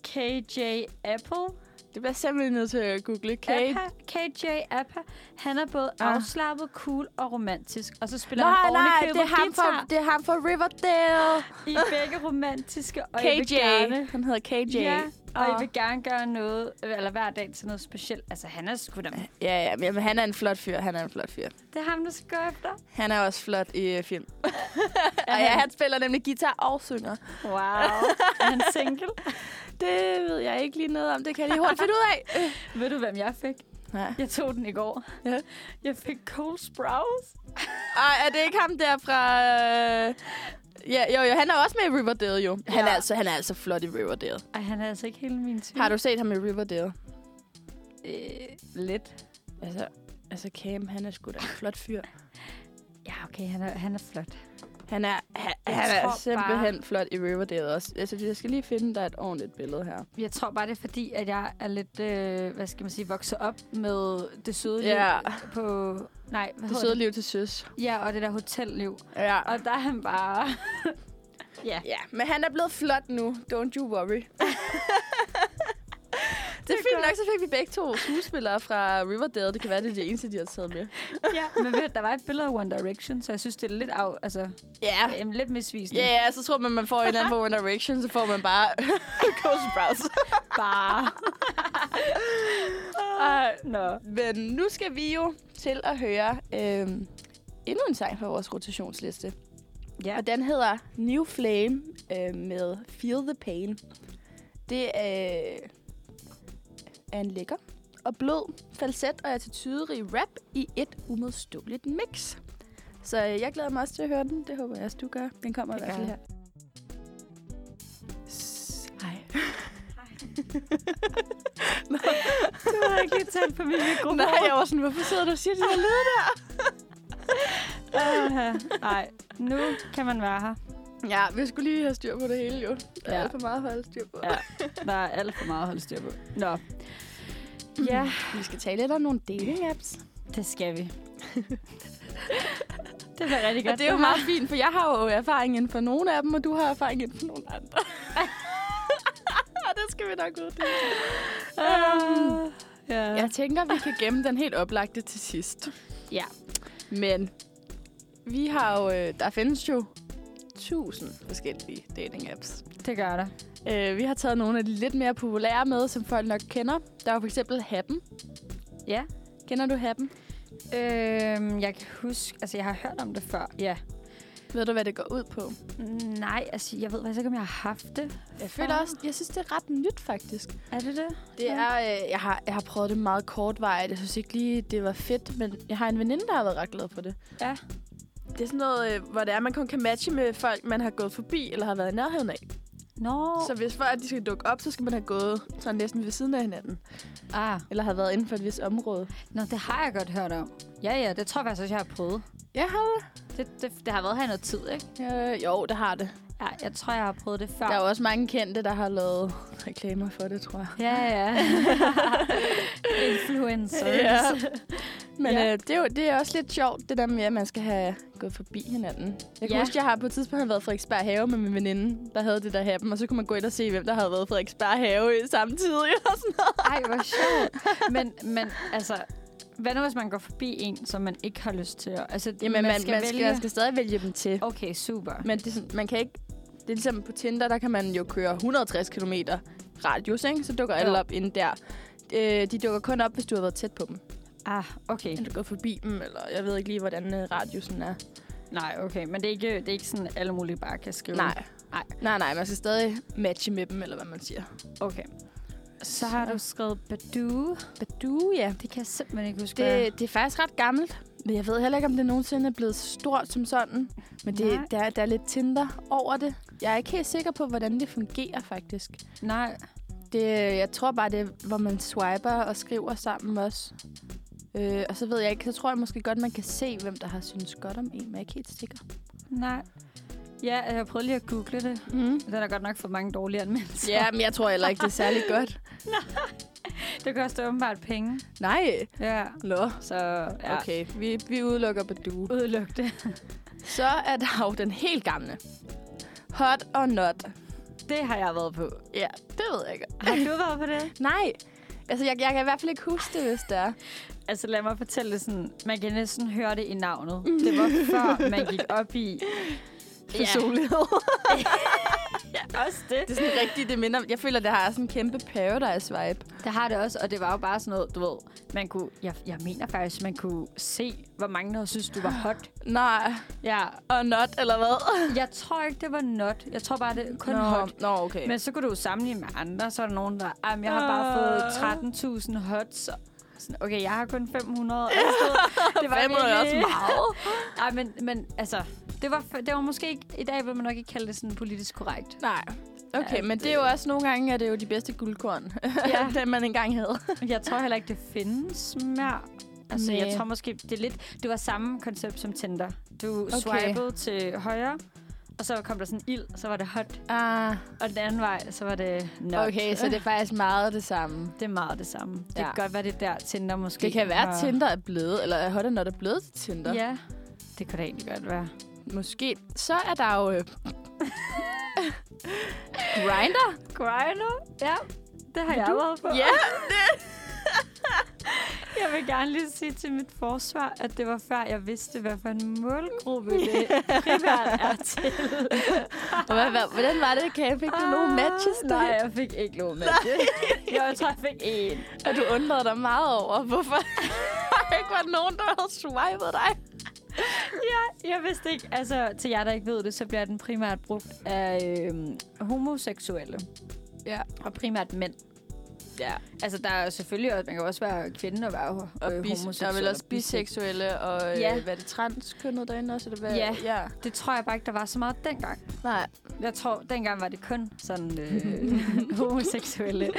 C: KJ Apple.
B: Det bliver jeg simpelthen nødt til at google. Kate.
C: Appa, KJ Appa. Han er både
B: Ah.
C: afslappet, cool og romantisk. Og så spiller
B: Nej,
C: han
B: nej,
C: ovenikøbet
B: det er, ham
C: guitar
B: fra, det er ham fra Riverdale.
C: i begge romantiske. Og jeg vil
B: KJ.
C: gerne-
B: Han hedder KJ.
C: Ja, og jeg
B: Og-
C: vil gerne gøre noget, øh, eller hver dag til noget specielt. Altså, han er sgu da...
B: Ja, ja, men jamen, han er en flot fyr. Han er en flot fyr.
C: Det er ham, der skal gå efter.
B: Han er også flot i uh, film. og ja, han spiller nemlig guitar og synger.
C: Wow. er han single?
B: Det ved jeg ikke lige noget om. Det kan jeg lige hurtigt finde ud af. Øh.
C: Ved du, hvem jeg fik?
B: Nej.
C: Jeg tog den i går.
B: Ja.
C: Jeg fik Cole Sprouse.
B: Ej, er det ikke ham der fra... øh, Ja, jo, jo, han er også med i Riverdale, jo. Han,
C: Ja.
B: er altså, han er altså flot i Riverdale.
C: Ej, han er altså ikke hele min type.
B: Har du set ham i Riverdale?
C: Øh, lidt.
B: Altså, altså Cam, han er sgu da en flot fyr.
C: Ja, okay, han er, han er flot.
B: Han er, han, han er
C: tror
B: simpelthen bare... flot i Riverdale også. Altså, jeg skal lige finde dig et ordentligt billede her.
C: Jeg tror bare, det er fordi, at jeg er lidt, øh, hvad skal man sige, vokset op med det søde
B: Ja.
C: liv på... Nej, hvad
B: Det
C: hedder
B: søde liv til søs.
C: det? Ja, og det der hotelliv.
B: Ja.
C: Og der er han bare... ja.
B: ja, men han er blevet flot nu. Don't you worry. det er fint nok, så fik vi begge to skuespillere fra Riverdale. Det kan være, det er det eneste, de har taget med.
C: ja. Men ved, du, der var et billede af One Direction, så jeg synes, det er lidt af... Altså,
B: Ja.
C: øh, lidt misvisende.
B: Ja, ja, så tror man, man får en eller anden på One Direction, så får man bare Ghost Browse.
C: Bare. Ej, nå.
B: Men nu skal vi jo til at høre øh, endnu en sang fra vores rotationsliste.
C: Ja.
B: Og den hedder New Flame øh, med Feel the Pain. Det øh, er en lækker og blød falset og attituderig rap i et umodståeligt mix. Så øh, jeg glæder mig også til at høre den. Det håber jeg også, du gør. Den kommer i
C: Det
B: hvert
C: gør
B: fald her. S- Hej.
C: skal tage en familiegruppe
B: Nej, jeg var sådan, hvorfor sidder du og siger de her lyde?
C: Åh, Nej, nu kan man være her.
B: Ja, vi skulle lige have styr på det hele, jo. Der er
C: Ja.
B: alt for meget at holde styr på.
C: Ja. Der er alt for meget at holde styr på. Nå. Ja,
B: Vi skal tale lidt om nogle dating-apps.
C: det skal vi. det bliver rigtig godt.
B: Og det er jo meget fint, for jeg har jo erfaring inden for nogle af dem, og du har erfaring inden for nogle andre. Og det skal vi nok ud til.
C: Uh, ja.
B: Jeg tænker, vi kan gemme den helt oplagte til sidst.
C: ja.
B: Men vi har jo, øh, der findes jo tusind forskellige dating-apps.
C: det gør der.
B: Øh, vi har taget nogle af de lidt mere populære med, som folk nok kender. Der er jo for eksempel Happen.
C: Ja.
B: Kender du Happen?
C: Øhm, jeg kan huske, altså jeg har hørt om det før, ja.
B: Ved du, hvad det går ud på?
C: Nej, altså jeg ved faktisk ikke, om jeg har haft det.
B: Jeg føler
C: før.
B: også, jeg synes, det er ret nyt, faktisk.
C: Er det det?
B: Det er, øh, jeg, har, jeg har prøvet det meget kortvarigt. Jeg synes ikke lige, det var fedt, men jeg har en veninde, der har været ret glad for det.
C: Ja.
A: Det er sådan noget, øh, hvor det er, man kun kan matche med folk, man har gået forbi eller har været i nærheden af.
C: Nå.
A: Så hvis folk de skal dukke op, så skal man have gået sådan næsten ved siden af hinanden.
C: ah.
B: Eller har været inden for et vist område.
C: Nå, det har jeg godt hørt om. Ja, ja, det tror jeg faktisk også, jeg har prøvet.
B: Ja, har det?
C: Det, det, det har været her i noget tid, ikke?
B: Øh, jo, det har det.
C: Ja, jeg tror, jeg har prøvet det før.
B: Der er jo også mange kendte, der har lavet reklamer for det, tror jeg.
C: Ja, ja. Influencers.
B: Ja. Men
C: Ja.
B: ja. øh, det, er jo, det er også lidt sjovt, det der med, at man skal have gået forbi hinanden. Jeg kan
C: Ja.
B: ja. huske, jeg har på et tidspunkt været i Frederiksberg Have med min veninde, der havde det der happen, og så kunne man gå ind og se, hvem der havde været i Frederiksberg Have i samtidig. Og sådan noget.
C: Ej, hvor sjovt. Men, men altså, hvad nu, hvis man går forbi en, som man ikke har lyst til? at- Altså,
B: Jamen, man, man, skal, man, skal,
C: vælge...
B: man skal stadig vælge dem til.
C: Okay, super.
B: Men det, er sådan- man kan ikke... Det er ligesom på Tinder, der kan man jo køre 160 km radius, ikke? Så dukker alle
C: Jo.
B: op inden der. Øh, de dukker kun op, hvis du har været tæt på dem.
C: Ah, okay.
B: Eller du går forbi dem, eller jeg ved ikke lige, hvordan øh, radiusen er.
C: Nej, okay. Men det er ikke, det er ikke sådan, alle mulige bare kan skrive.
B: Nej.
C: Nej.
B: Nej, nej, man skal stadig matche med dem, eller hvad man siger.
C: Okay. Så har du skrevet Badoo.
B: Badu, ja.
C: Det kan jeg simpelthen ikke huske, hvad er.
B: Det, det er faktisk ret gammelt. Men jeg ved heller ikke, om det nogensinde er blevet stort som sådan. Men det,
C: Nej.
B: der, er- der er lidt Tinder over det. Jeg er ikke helt sikker på, hvordan det fungerer, faktisk.
C: Nej.
B: Det, jeg tror bare, det er, hvor man swiper og skriver sammen også. Øh, og så ved jeg ikke, så tror jeg måske godt, man kan se, hvem der har synes godt om en, men jeg er ikke helt sikker.
C: Nej. Ja, jeg har prøvet lige at google det.
B: Mm.
C: Den er godt nok for mange dårlige anmeldelser.
B: Ja, men jeg tror heller ikke, det er særlig godt.
C: Det koster åbenbart penge.
B: Nej.
C: Ja.
B: Nå,
C: Så ja.
B: okay. Vi, vi udelukker Badoo.
C: Udeluk det.
B: Så er der jo den helt gamle. Hot or not.
C: Det har jeg været på.
B: Ja, det ved jeg godt.
C: Har du været på det?
B: Nej. Altså, jeg, jeg kan i hvert fald ikke huske det, hvis det er.
C: Altså lad mig fortælle det sådan. Man kan næsten høre det i navnet. Det var før, man gik op i...
B: Personlighed.
C: Ja, også
B: det er sådan rigtigt, det minder om- Jeg føler, det har sådan en kæmpe paradise-vibe.
C: Det har det også, og det var jo bare sådan noget, du ved... Man kunne, jeg, jeg mener faktisk, man kunne se, hvor mange der synes, du var hot.
B: Nej.
C: Ja,
B: Og not, eller hvad?
C: jeg tror ikke, det var not. Jeg tror bare, det kun
B: Nå,
C: hot.
B: Nå, okay.
C: Men så kunne du jo sammenligne med andre, så er der nogen, der... Jamen, jeg har bare fået 13.000 hots. og Sådan, okay, jeg har kun 500. Altså, det var
B: 500 er også
C: meget. Nej, men, men altså... Det var, det var måske ikke... I dag vil man nok ikke kalde det sådan politisk korrekt.
B: Nej. Okay,
C: Ja,
B: ja, men det er jo også nogle gange, at det er jo de bedste guldkorn,
C: Ja.
B: ja. den man engang havde.
C: Jeg tror heller ikke, det findes mere. Altså,
B: Næh.
C: jeg tror måske, det er lidt... Det var samme koncept som Tinder. Du okay. swipede til højre, og så kom der sådan ild, så var det hot.
B: Ah,
C: Og den anden vej, så var det not.
B: okay, så det er faktisk meget det samme.
C: Det er meget det samme. Det
B: Ja.
C: kan godt være, det er der Tinder måske.
B: Det kan være, at
C: har-
B: Tinder er blevet, eller at Hot or Not er blevet til Tinder.
C: Ja, det kunne da egentlig godt være.
B: Måske. Så er der jo... Øh... Grinder?
C: Grinder? Ja, det har jeg været på.
B: Ja,
C: Jeg vil gerne lige sige til mit forsvar, at det var før, jeg vidste, hvad for en målgruppe det primært er til.
B: Og hvad, hvad, hvordan var det? Kan jeg fik du nogle matches der?
C: Ah, Nej, jeg fik ikke nogen matches. Jo, jeg tror, jeg fik én.
B: Og du undrede dig meget over, hvorfor der ikke var nogen, der havde swipet dig.
C: Ja, jeg vidste ikke. Altså, til jer, der ikke ved det, så bliver den primært brugt af øhm, homoseksuelle.
B: Ja.
C: Og primært mænd. Ja. Altså, der er selvfølgelig også, man kan også være kvinde og være øh,
B: Og bis,
C: homoseksuel
B: der er vel
C: og
B: også biseksuelle, og øh,
C: Ja.
B: ja. hvad er det, transkønnet derinde også? Eller hvad?
C: Ja.
B: ja.
C: Det tror jeg bare ikke, der var så meget dengang.
B: Nej.
C: Jeg tror, dengang var det kun sådan øh, homoseksuelle.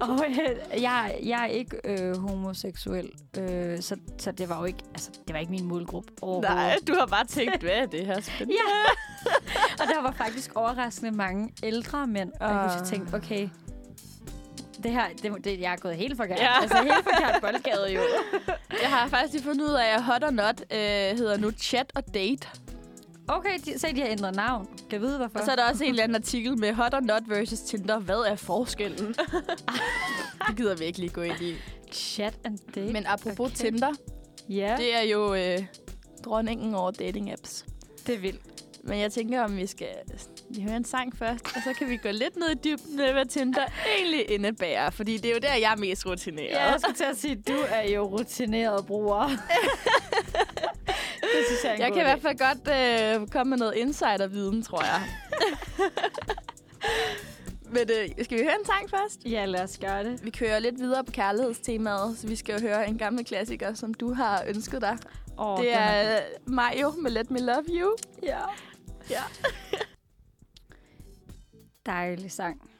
C: og øh, jeg, jeg er ikke øh, homoseksuel, øh, så, så det var jo ikke, altså, det var ikke min målgruppe overhovedet.
B: Nej, du har bare tænkt, hvad er det her spændende?
C: Ja. og der var faktisk overraskende mange ældre mænd, og jeg husker, jeg
B: Ah.
C: tænkte, okay, det her, det, det, jeg er gået helt forkert.
B: Ja.
C: Altså helt forkert boldgade jo.
B: Jeg har faktisk lige fundet ud af, at Hot or Not øh, hedder nu Chat og Date.
C: Okay, de, se, de har ændret navn. Kan jeg vide, hvorfor?
B: Og så er der også en eller anden artikel med Hot or Not versus Tinder. Hvad er forskellen? det gider vi ikke lige gå ind i.
C: chat and date.
B: Men apropos
C: Okay.
B: okay. Tinder,
C: ja, det,
B: det er jo øh, dronningen over dating apps.
C: det er vildt.
B: Men jeg tænker, om vi skal lige høre en sang først, og så kan vi gå lidt ned i dybden med, hvad Tinder egentlig indebærer. Fordi det er jo der, jeg er mest rutineret.
C: Ja, jeg skulle til at sige, du er jo rutineret bruger. det synes jeg er en
B: Jeg
C: god
B: kan i
C: idé.
B: hvert fald godt øh, komme med noget insider-viden, tror jeg. Men øh, skal vi høre en sang først?
C: Ja, lad os gøre det.
B: Vi kører lidt videre på kærlighedstemaet, så vi skal jo høre en gammel klassiker, som du har ønsket dig.
C: Oh,
B: Oh, det er øh, Mayo med Let Me Love You.
C: Ja.
B: Ja.
C: Dejlig sang.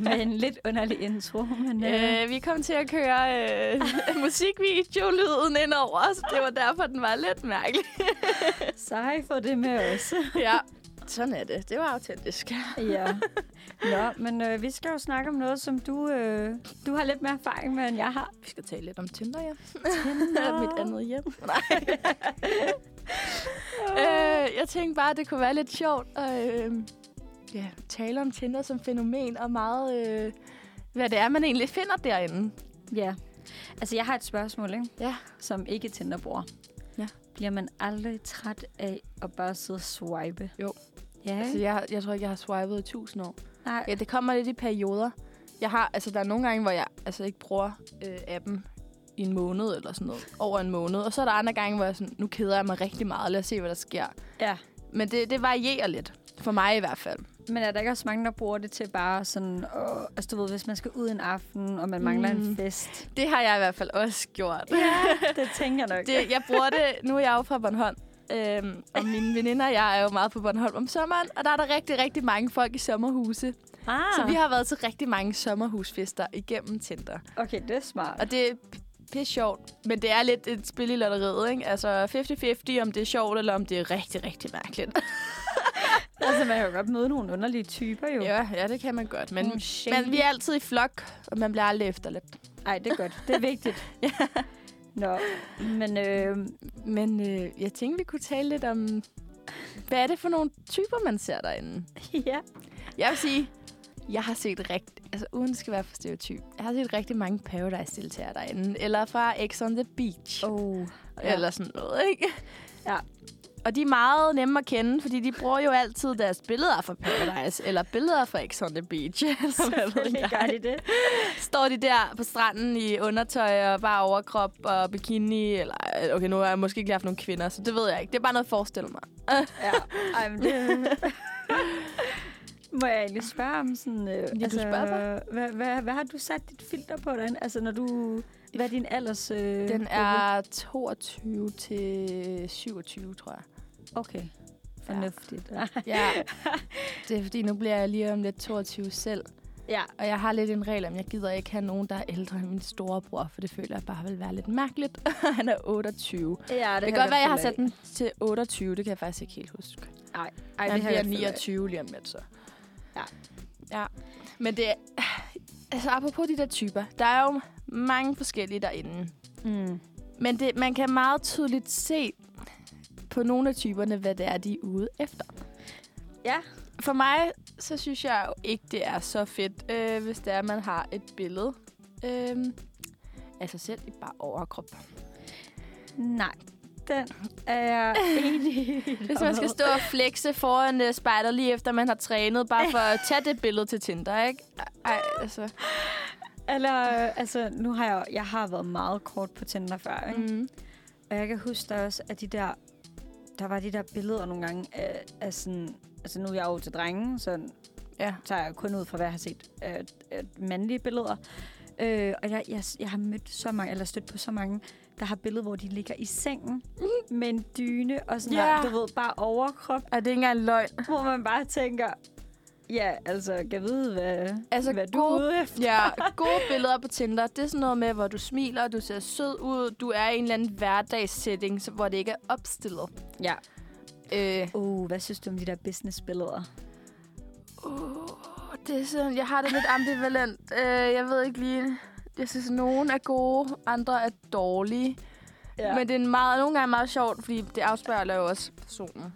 C: Med en lidt underlig intro, men... Øh,
B: Øh, vi kom til at køre øh, musikvideo-lyden ind over os. Det var derfor, den var lidt mærkelig.
C: så har I fået det med os.
B: ja, sådan er det. Det var autentisk.
C: ja. Nå, men øh, vi skal jo snakke om noget, som du, øh, du har lidt mere erfaring med, end jeg har.
B: Vi skal tale lidt om Tinder, ja.
C: Tinder.
B: Mit andet hjem. Nej. øh, jeg tænkte bare, at det kunne være lidt sjovt at øh, ja, tale om Tinder som fænomen, og meget, øh, hvad det er, man egentlig finder derinde.
C: Ja. Altså, jeg har et spørgsmål, ikke?
B: Ja.
C: Som ikke Tinder bruger.
B: Ja.
C: Bliver man aldrig træt af at bare sidde og swipe?
B: Jo.
C: Ja,
B: Altså,
C: ikke?
B: jeg, jeg tror ikke, jeg har swipet i tusind år.
C: Nej.
B: Ja, det kommer lidt i perioder. Jeg har, altså, der er nogle gange, hvor jeg altså, ikke bruger øh, appen i en måned eller sådan noget. Over en måned. Og så er der andre gange, hvor jeg sådan, nu keder jeg mig rigtig meget. Lad os se, hvad der sker.
C: Ja.
B: Men det, det varierer lidt. For mig i hvert fald.
C: Men er der ikke også mange, der bruger det til bare sådan... Åh, altså, du ved, hvis man skal ud en aften, og man mangler en
B: Mm.
C: fest.
B: Det har jeg i hvert fald også gjort.
C: det tænker jeg nok.
B: Det, jeg bruger det, nu er jeg jo fra Bornholm, øhm, og mine veninder og jeg er jo meget på Bornholm om sommeren, og der er der rigtig, rigtig mange folk i sommerhuse. Ah.
C: ah,
B: Så vi har været til rigtig mange sommerhusfester igennem Tinder.
C: Okay, det er smart.
B: Og det er p- pisse sjovt, men det er lidt et spil i lotteriet, ikke? Altså 50-50, om det er sjovt, eller om det er rigtig, rigtig mærkeligt.
C: altså, man kan jo godt møde nogle underlige typer, jo.
B: Ja, ja det kan man godt, men,
C: Nogle
B: Mm. men vi er altid i flok, og man bliver aldrig efterladt.
C: Ej, det er godt. Det er vigtigt. ja. Nå, men øh,
B: Men øh, jeg tænkte, vi kunne tale lidt om, hvad er det for nogle typer, man ser derinde?
C: ja.
B: Jeg vil sige, jeg har set rigtig... Altså, uden det skal være for stereotyp. Jeg har set rigtig mange Paradise-deltagere derinde. Eller fra X on the Beach. Oh,
C: Oh.
B: ja. Eller sådan noget, ikke?
C: Ja.
B: Og de er meget nemme at kende, fordi de bruger jo altid deres billeder fra Paradise, eller billeder fra X on the Beach. eller hvad ved
C: Selvfølgelig
B: jeg.
C: gør de det.
B: Står de der på stranden i undertøj og bare overkrop og bikini, eller... Okay, nu har jeg måske ikke lige haft nogle kvinder, så det ved jeg ikke. Det er bare noget at forestille mig.
C: Ja. Ej, men det... Må jeg egentlig spørge om sådan... Øh,
B: du spørger bare.
C: hvad, hvad, hvad har du sat dit filter på derinde? Altså, når du... Hvad er din alders... Øh,
B: Den
C: gruppe?
B: er 22 til 27, tror jeg.
C: Okay. Fornuftigt. Ja.
B: Ja, det er fordi, nu bliver jeg lige om lidt 22 selv.
C: ja.
B: Og jeg har lidt en regel om, jeg gider ikke have nogen, der er ældre end min storebror, for det føler jeg bare vil være lidt mærkeligt. Han er 28. Det,
C: ja
B: det kan godt være, jeg har sat den til 28. Det kan jeg faktisk ikke helt huske.
C: Nej,
B: Ej,
C: Ej,
B: Han
C: det har
B: bliver
C: jeg godt fundet
B: 29 lige om lidt, så.
C: Ja.
B: Ja. Men det er... Altså, apropos de der typer. Der er jo mange forskellige derinde.
C: af. Mm.
B: Men det, man kan meget tydeligt se på nogle af typerne, hvad det er, de er ude efter.
C: Ja.
B: For mig, så synes jeg jo ikke, det er så fedt, øh, hvis det er, at man har et billede øh, af sig selv i bare overkrop.
C: Nej. Den er jeg enig i.
B: Hvis man skal stå og flexe foran øh, spejder lige efter, man har trænet, bare for at tage det billede til Tinder, ikke? Ej, altså.
C: Eller, øh, altså, nu har jeg, jeg har været meget kort på Tinder før, ikke? Mm.
B: Mm.
C: Og jeg kan huske der også, at de der, der var de der billeder nogle gange af, af sådan, altså nu er jeg jo til drenge, så
B: Ja.
C: tager jeg kun ud fra, hvad jeg har set, at, at mandlige billeder. Øh, og jeg, jeg, jeg har mødt så mange, eller stødt på så mange, der har billeder, hvor de ligger i sengen med en dyne og sådan
B: Ja.
C: yeah. der, du ved, bare overkrop,
B: Er det ikke engang løgn?
C: hvor man bare tænker, ja, altså, kan jeg vide, hvad,
B: Altså,
C: hvad du er
B: gode-
C: ude efter?
B: Ja, gode billeder på Tinder, det er sådan noget med, hvor du smiler, du ser sød ud, du er i en eller anden hverdagssetting, så- hvor det ikke er opstillet.
C: Ja.
B: Øh,
C: Uh, hvad synes du om de der business-billeder?
B: uh, det er sådan, jeg har det lidt ambivalent. Øh, jeg ved ikke lige... Jeg synes, at nogen er gode, andre er dårlige. Ja. Men det er en meget, nogle gange meget sjovt, fordi det afspejler jo også personen,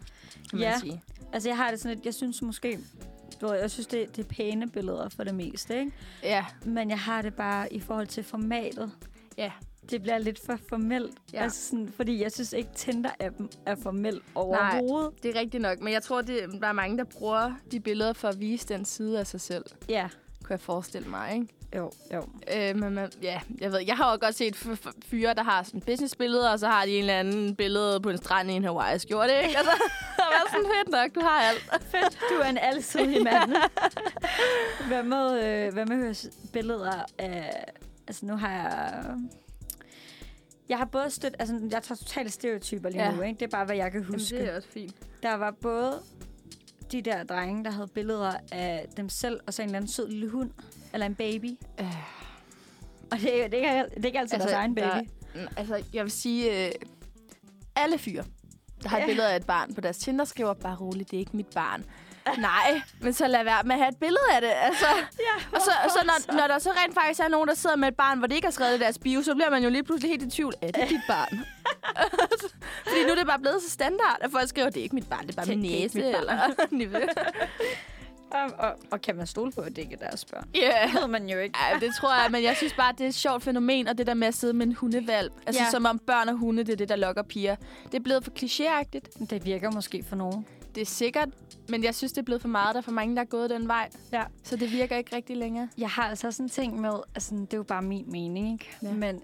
B: kan
C: Ja.
B: man sige.
C: Altså, jeg har det sådan lidt, jeg synes måske, du ved, jeg synes, det, det er pæne billeder for det meste, ikke?
B: Ja.
C: Men jeg har det bare i forhold til formatet.
B: Ja.
C: Det bliver lidt for formelt.
B: Ja.
C: Ja. Altså sådan, fordi jeg synes ikke, Tinder-appen er formel overhovedet.
B: Det er rigtigt nok, men jeg tror, det, der er mange, der bruger de billeder for at vise den side af sig selv,
C: Ja.
B: kunne jeg forestille mig, ikke?
C: Jo, jo.
B: Øh, men man, ja, jeg ved, jeg har jo godt set f- f- fyre, der har sådan businessbilleder, og så har de en eller anden billede på en strand i en Hawaii-skjorte, ikke? Altså, det var sådan fedt nok, du har alt.
C: Fedt, du er en alsidig mand. hvad med, øh, hvad med høres billeder af... Altså, nu har jeg... Jeg har både stødt... Altså, jeg tager totalt stereotyper lige
B: Ja.
C: ja. nu, ikke? Det er bare, hvad jeg kan huske.
B: også fint.
C: Der var både de der drenge, der havde billeder af dem selv, og så en eller anden sød lille hund, eller en baby.
B: Øh.
C: Og det, er- det, er, ikke al- det er ikke altid altså, deres egen baby.
B: Der, altså, jeg vil sige, øh, alle fyre, der har et
C: Ja.
B: billede af et barn på deres Tinder, skriver bare roligt, det er ikke mit barn. Nej, men så lad være med at have et billede af det. Altså,
C: Ja,
B: og så, og så når, når der så rent faktisk er nogen, der sidder med et barn, hvor det ikke er skrevet i deres bio, så bliver man jo lige pludselig helt i tvivl. Er det dit barn? Fordi nu er det bare blevet så standard, at folk skriver, det er ikke mit barn, det er bare
C: Det-
B: min
C: det er ikke
B: næse.
C: mit barn.
B: eller niveau.
C: og, og, og kan man stole på, at det ikke er deres børn?
B: Ja,
C: Det ved man jo ikke.
B: Ej, det tror jeg, men jeg synes bare, det er et sjovt fænomen, og det der med at sidde med en hundevalp. Altså, ja.
C: Ja.
B: som om børn og hunde, det er det, der lokker piger. Det er blevet for klichéagtigt.
C: Det virker måske for nogen.
B: Det er sikkert, men jeg synes, det er blevet for meget. Der er for mange, der er gået den vej.
C: Ja.
B: Så det virker ikke rigtig længere.
C: Jeg har altså sådan en ting med, altså det er jo bare min mening, ikke?
B: Ja.
C: Ja. Men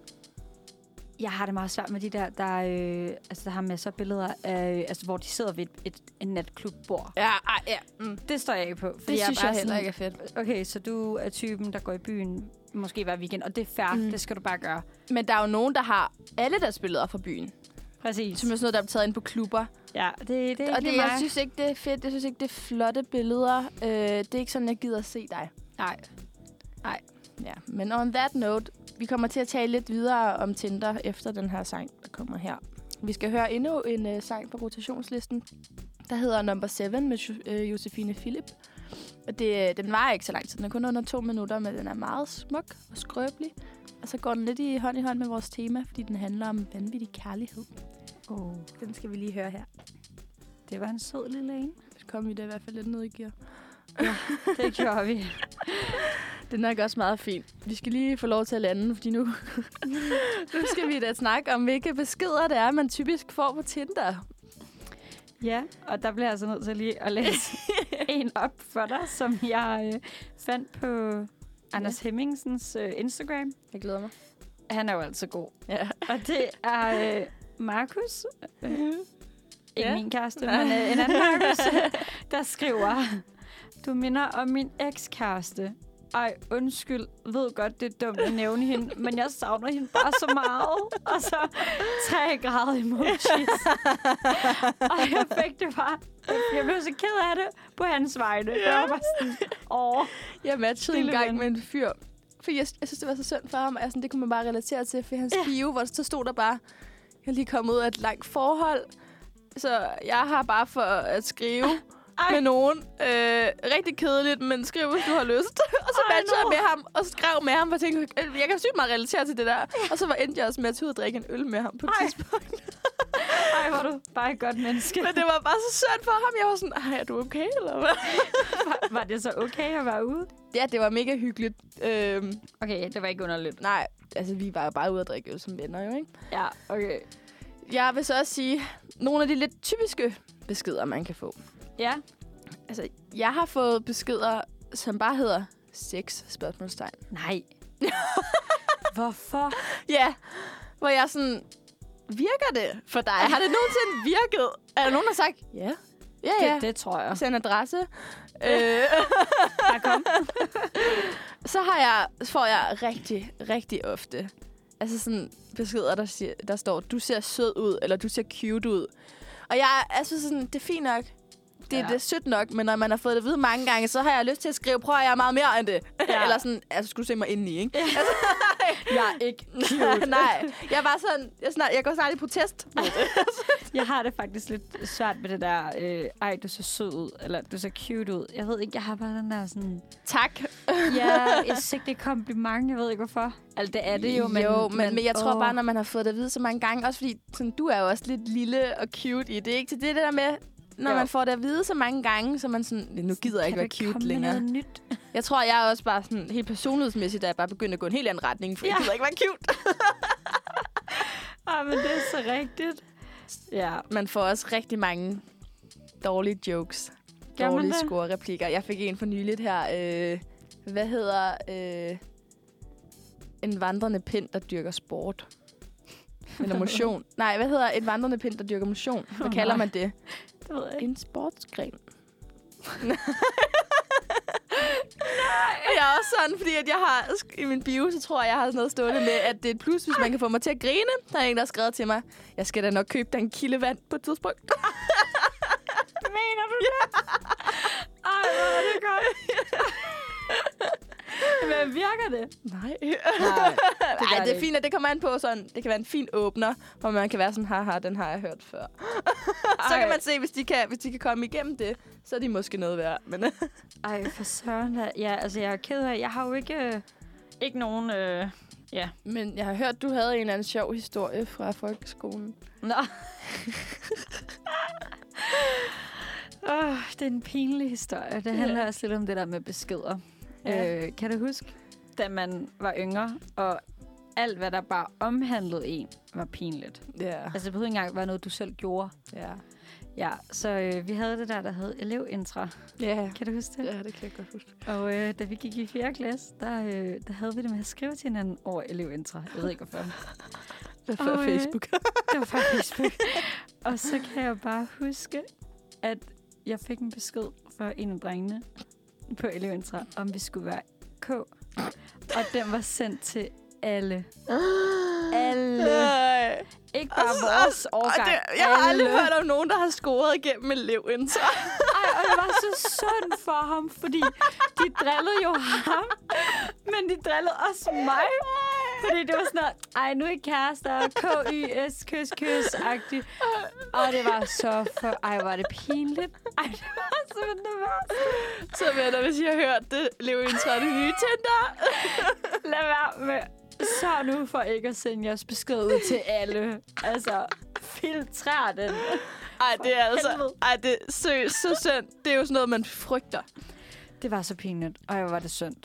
C: jeg har det meget svært med de der, der, øh, altså, der har masser af billeder, af, altså, hvor de sidder ved et, et, et natklubbord.
B: Ja, ej, ja. Mm.
C: Det står jeg ikke på. Fordi
B: Det
C: er
B: synes
C: bare
B: jeg heller
C: sådan-
B: ikke er fedt.
C: Okay, så du er typen, der går i byen måske hver weekend, og det er fair,
B: Mm.
C: mm. det skal du bare gøre.
B: Men der er jo nogen, der har alle deres billeder fra byen.
C: Præcis.
B: Som er sådan noget, der er taget ind på klubber.
C: Ja, det, det er
B: og det,
C: lige
B: jeg
C: mig.
B: synes ikke, det er fedt. Jeg synes ikke, det er flotte billeder. Øh, det er ikke sådan, jeg gider at se dig.
C: Nej.
B: Ja, men on that note, vi kommer til at tale lidt videre om Tinder efter den her sang, der kommer her. Vi skal høre endnu en øh, sang på rotationslisten, der hedder Number 7 med jo- øh, Josefine Philip. Og det, øh, den var ikke så lang tid, den er kun under to minutter, men den er meget smuk og skrøbelig. Og så går den lidt i hånd i hånd med vores tema, fordi den handler om vanvittig kærlighed.
C: Oh,
B: Den skal vi lige høre her.
C: det var en sød lille en.
B: Så kom vi da i hvert fald lidt ned i gear.
C: Det gjorde vi.
B: Den er nok også meget fin. Vi skal lige få lov til at lande, fordi nu, nu skal vi da snakke om, hvilke beskeder det er, man typisk får på Tinder.
C: Ja, og der bliver jeg altså nødt til lige at læse en op for dig, som jeg øh, fandt på Anders Hemmingsens øh, Instagram.
B: Jeg glæder mig.
C: Han er jo altid god.
B: Ja.
C: Og det er øh, Markus, øh, ikke
B: Mhm. Ja.
C: ja. min kæreste, men øh, en anden Markus, der skriver, du minder om min ekskæreste. Ej, undskyld, ved godt, det er dumt at nævne hende, men jeg savner hende bare så meget. Og så tre grader emojis. og jeg fik det bare. Jeg blev så ked af det på hans vegne. Ja. Jeg var bare sådan, åh.
B: Jeg matchede en
C: Lille
B: gang
C: ven.
B: med en fyr. For jeg, jeg synes, det var så synd for ham, og jeg sådan, det kunne man bare relatere til. For i hans ja. bio, hvor så stod der bare, jeg er lige kommet ud af et langt forhold. Så jeg har bare for at skrive Ej.
C: Ej.
B: med nogen. Øh, rigtig kedeligt, men skriv, hvis du har lyst. og så
C: Ej,
B: matchede jeg
C: nå.
B: med ham og skrev med ham, og tænkte, "Øh, jeg kan sygt meget relatere til det der. Og så var endte jeg også med at tage ud og drikke en øl med ham på et
C: Ej.
B: tidspunkt.
C: Ej, hvor er du bare et godt menneske.
B: Men det var bare så synd for ham. Jeg var sådan, ej, er du okay, eller hvad?
C: Var, var det så okay at være ude?
B: Ja, det var mega hyggeligt. Øhm,
C: Okay, det var ikke underligt.
B: nej, altså vi var jo bare ude og drikke øl som venner, jo, ikke?
C: Ja, okay.
B: Jeg vil så også sige, nogle af de lidt typiske beskeder, man kan få.
C: Ja.
B: Altså, jeg har fået beskeder, som bare hedder sex spørgsmålstegn.
C: Nej. Hvorfor?
B: Ja, hvor jeg er sådan, virker det for dig? Har det nogensinde virket? Er der nogen, der har sagt, ja, ja, ja.
C: Det, det tror jeg.
B: Send adresse. Øh,
C: Bare kom.
B: så har har jeg, får jeg rigtig, rigtig ofte. Altså sådan beskeder, der, siger, der står, du ser sød ud, eller du ser cute ud. Og jeg er altså sådan, det er fint nok. Det, ja.
C: Ja.
B: det er sødt nok, men når man har fået det at vide mange gange, så har jeg lyst til at skrive, prøv at jeg er meget mere end det. Ja.
C: Ja.
B: eller sådan, altså skulle du se mig indeni, ikke?
C: Jeg er ikke
B: Ja. Nej, jeg var sådan, jeg, snart, jeg går snart i protest.
C: Jeg har det faktisk lidt svært med det der, øh, ej, du ser sød ud, eller du ser cute ud. Jeg ved ikke, jeg har bare den der sådan,
B: tak.
C: ja, et sigtigt kompliment, jeg ved ikke hvorfor. Altså, det er det jo, men...
B: jo, men, men jeg tror
C: åh.
B: bare, når man har fået det at vide så mange gange, også fordi sådan, du er jo også lidt lille og cute i det, ikke? Så det er det der med, når jo.
C: Jo.
B: man får det at vide så mange gange, så er man sådan, nu gider jeg ikke
C: Kan
B: være
C: du komme
B: cute
C: med
B: længere.
C: Noget nyt?
B: Jeg tror, jeg er også bare sådan, helt personlighedsmæssigt, da jeg bare begyndte at gå en helt anden retning, for ja. jeg
C: Ja.
B: gider ikke være cute.
C: Ej, men det er så rigtigt. Ja,
B: Man får også rigtig mange dårlige jokes,
C: Gør man
B: dårlige
C: det?
B: score-replikker. Jeg fik en for nyligt her, øh, hvad hedder øh, en vandrende pind, der dyrker sport? Eller motion. Nej, hvad hedder en vandrende pind, der dyrker motion? Hvad
C: Åh,
B: kalder
C: nej.
B: man det?
C: det ved jeg ikke.
B: En sportsgren. Og Jeg er også sådan, fordi at jeg har sk- i min bio, så tror jeg, jeg har sådan noget stående med, at det er et plus, hvis man kan få mig til at grine. Der er en, der har skrevet til mig, jeg skal da nok købe dig en kilde vand på et tidspunkt.
C: Mener du det? Ej, hvor er det godt. Men virker det?
B: Nej.
C: Nej,
B: Det,
C: gør
B: Ej, det er
C: det ikke.
B: fint, at det kommer an på sådan, det kan være en fin åbner, hvor man kan være sådan, haha, den har jeg hørt før. så kan
C: Ej.
B: man se, hvis de kan, hvis de kan komme igennem det, så er de måske noget værd. Men
C: Ej, for søren. da. Ja, altså, jeg er ked af, jeg har jo ikke, øh, ikke nogen... Øh...
B: Men jeg har hørt, du havde en eller anden sjov historie fra folkeskolen.
C: Nå. oh, det er en pinlig historie. Det handler
B: Ja.
C: også lidt om det der med beskeder.
B: Ja.
C: Ja. Øh, kan du huske, da man var yngre, og alt, hvad der bare omhandlede en, var pinligt.
B: Ja.
C: Altså, det behøvede ikke engang være noget, du selv gjorde.
B: Ja.
C: Ja, så øh, vi havde det der, der hed elevintra.
B: Ja.
C: Kan du huske det?
B: Ja, det kan jeg godt huske.
C: Og øh, da vi gik i 4. klasse, der, øh, der havde vi det med at skrive til hinanden over elevintra. Jeg ved ikke, hvorfor.
B: Det var før
C: Ej.
B: Facebook.
C: Det var fra Facebook. og så kan jeg bare huske, at jeg fik en besked fra en af drengene på Eleventra, om vi skulle være K. Og den var sendt til alle. Alle.
B: Nej.
C: Ikke bare
B: Og så-
C: vores
B: Altså, Og
C: årgang.
B: det, jeg har aldrig
C: Alle.
B: hørt om nogen, der har scoret igennem eleven. Så.
C: Ej, og det var så synd for ham, fordi de drillede jo ham, men de drillede også mig. Fordi det var sådan noget, ej, nu er I kærester, K-Y-S, kys, kys, agtigt. Og det var så for, ej, var det pinligt. Ej, det var simpelthen det værste.
B: Så venner, hvis I har hørt det, lev i en tråd nye Tinder.
C: Lad være med. Så nu for ikke at sende jeres besked ud til alle. Altså, filtrer den.
B: Ej, det er altså...
C: helvede.
B: Ej, det er seriøst så synd. Det er jo sådan noget, man frygter.
C: Det var så pinligt, og jeg var det synd.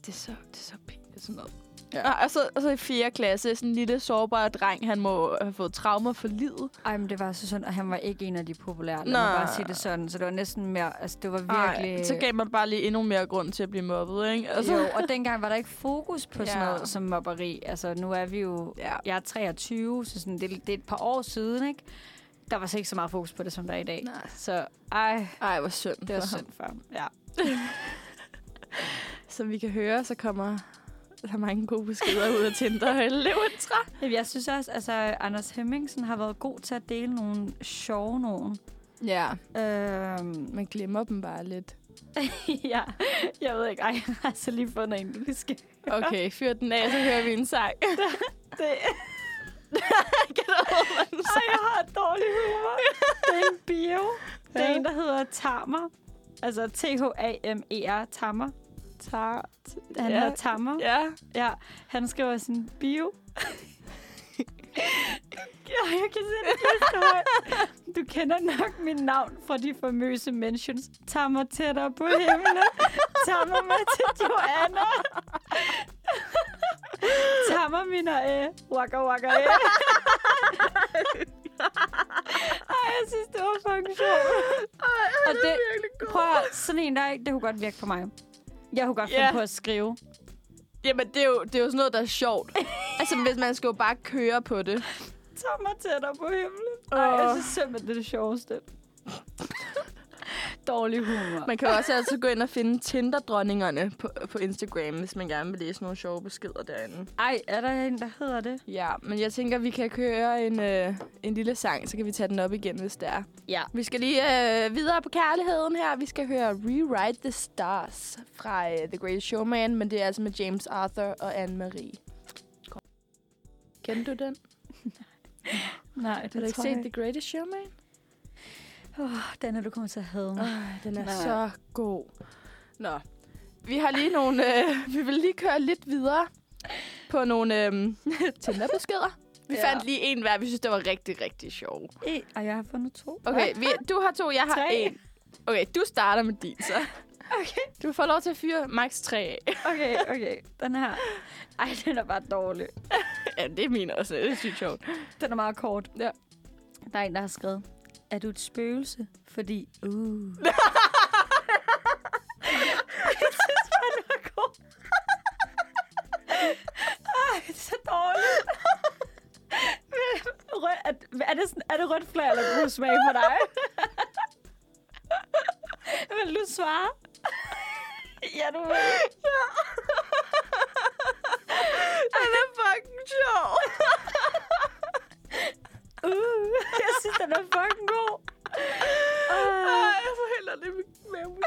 B: Det er så, det er så pinligt sådan noget. Ja. Og, så, og så i 4. klasse, sådan en lille sårbar dreng, han må have fået traumer for livet.
C: Ej, men det var så synd, og han var ikke en af de populære. Lad
B: Nej.
C: mig bare sige det sådan, så det var næsten mere, altså det var virkelig...
B: Ej, så gav man bare lige endnu mere grund til at blive mobbet, ikke?
C: altså.
B: Altså,
C: Jo, og dengang var der ikke fokus på sådan
B: Ja.
C: noget som mobberi. Altså nu er vi jo,
B: Ja.
C: jeg er 23, så sådan, det, er- det er et par år siden, ikke? Der var så ikke så meget fokus på det, som der er i dag.
B: Nej.
C: Så ej,
B: Ej, hvor synd
C: det var
B: for ham.
C: synd for ham. Ja.
B: Som vi kan høre, så kommer der mange gode beskeder ud af Tinder og eleven træ.
C: Jamen, Jeg synes også, altså Anders Hemmingsen har været god til at dele nogle sjove nogen.
B: Ja,
C: Øhm,
B: man glemmer dem bare lidt.
C: ja, jeg ved ikke. Ej, jeg har så lige fundet en, du lige skal
B: Okay, fyr den af, så hører vi en sang.
C: Det...
B: kan du høre, hvad den
C: Ej, jeg har et dårligt humor. Det er en bio. Det er en, der hedder Tamer. Altså T-H-A-M-E-R, Tamer.
B: tager?
C: Han
B: Ja.
C: ja. hedder Tamer. Ja.
B: Ja.
C: ja. Han skriver sin bio. Ja, jeg kan se det Du kender nok mit navn fra de famøse mentions. Tammer tættere på himlen. Tammer med til Joanna. Tammer mine øh, waka waka øh. Ej, jeg synes, det var fucking sjovt. Og det, prøv at, høre, sådan en der, ikke, det kunne godt virke på mig. Jeg kunne godt finde
B: Ja.
C: på at skrive.
B: Jamen, det er, jo, det er jo sådan noget, der er sjovt. altså, hvis man skal jo bare køre på det.
C: Tag mig tættere på himlen. Ej, jeg
B: Åh.
C: synes simpelthen, det er det sjoveste. Dårlig humor.
B: Man kan jo også altid gå ind og finde Tinder-dronningerne på, på Instagram, hvis man gerne vil læse nogle sjove beskeder derinde.
C: Ej, er der en, der hedder det?
B: Ja, men jeg tænker, vi kan køre en, øh, en lille sang, så kan vi tage den op igen, hvis det er.
C: Ja.
B: Vi skal lige øh, videre på kærligheden her. Vi skal høre Rewrite the Stars fra øh, The Great Showman, men det er altså med James Arthur og Anne-Marie. Kom. Kender du den?
C: Nej, det
B: Har du ikke
C: tror jeg
B: set The Greatest Showman?
C: Åh, den er du kommer til at have.
B: Oh, den er
C: Nej.
B: så god. Nå, vi har lige nogle... Øh, vi vil lige køre lidt videre på nogle øh, Tinder-beskeder. Vi
C: Ja.
B: ja. fandt lige en hver, vi synes, det var rigtig, rigtig sjov.
C: E. Ej, jeg har fundet to.
B: Okay, vi, du har to, jeg har
C: Tre.
B: en. Okay, du starter med din, så.
C: Okay,
B: Du får lov til at fyre max 3 af.
C: okay, okay. Den her. Ej, den er bare dårlig.
B: Ja, det er min også. Det er sygt sjovt.
C: Den er meget kort.
B: Ja.
C: Der er en, der har skrevet, er du et spøgelse? Fordi... Uh. jeg synes bare, den er god. Ej, det er så dårligt. Rød, er, er, det sådan, er det rødt flag eller brug smag for dig? Vil du svare? ja, du vil. Ja.
B: Den er fucking sjov.
C: Uh, jeg synes, den er fucking god.
B: Ej, jeg får heller det med mave.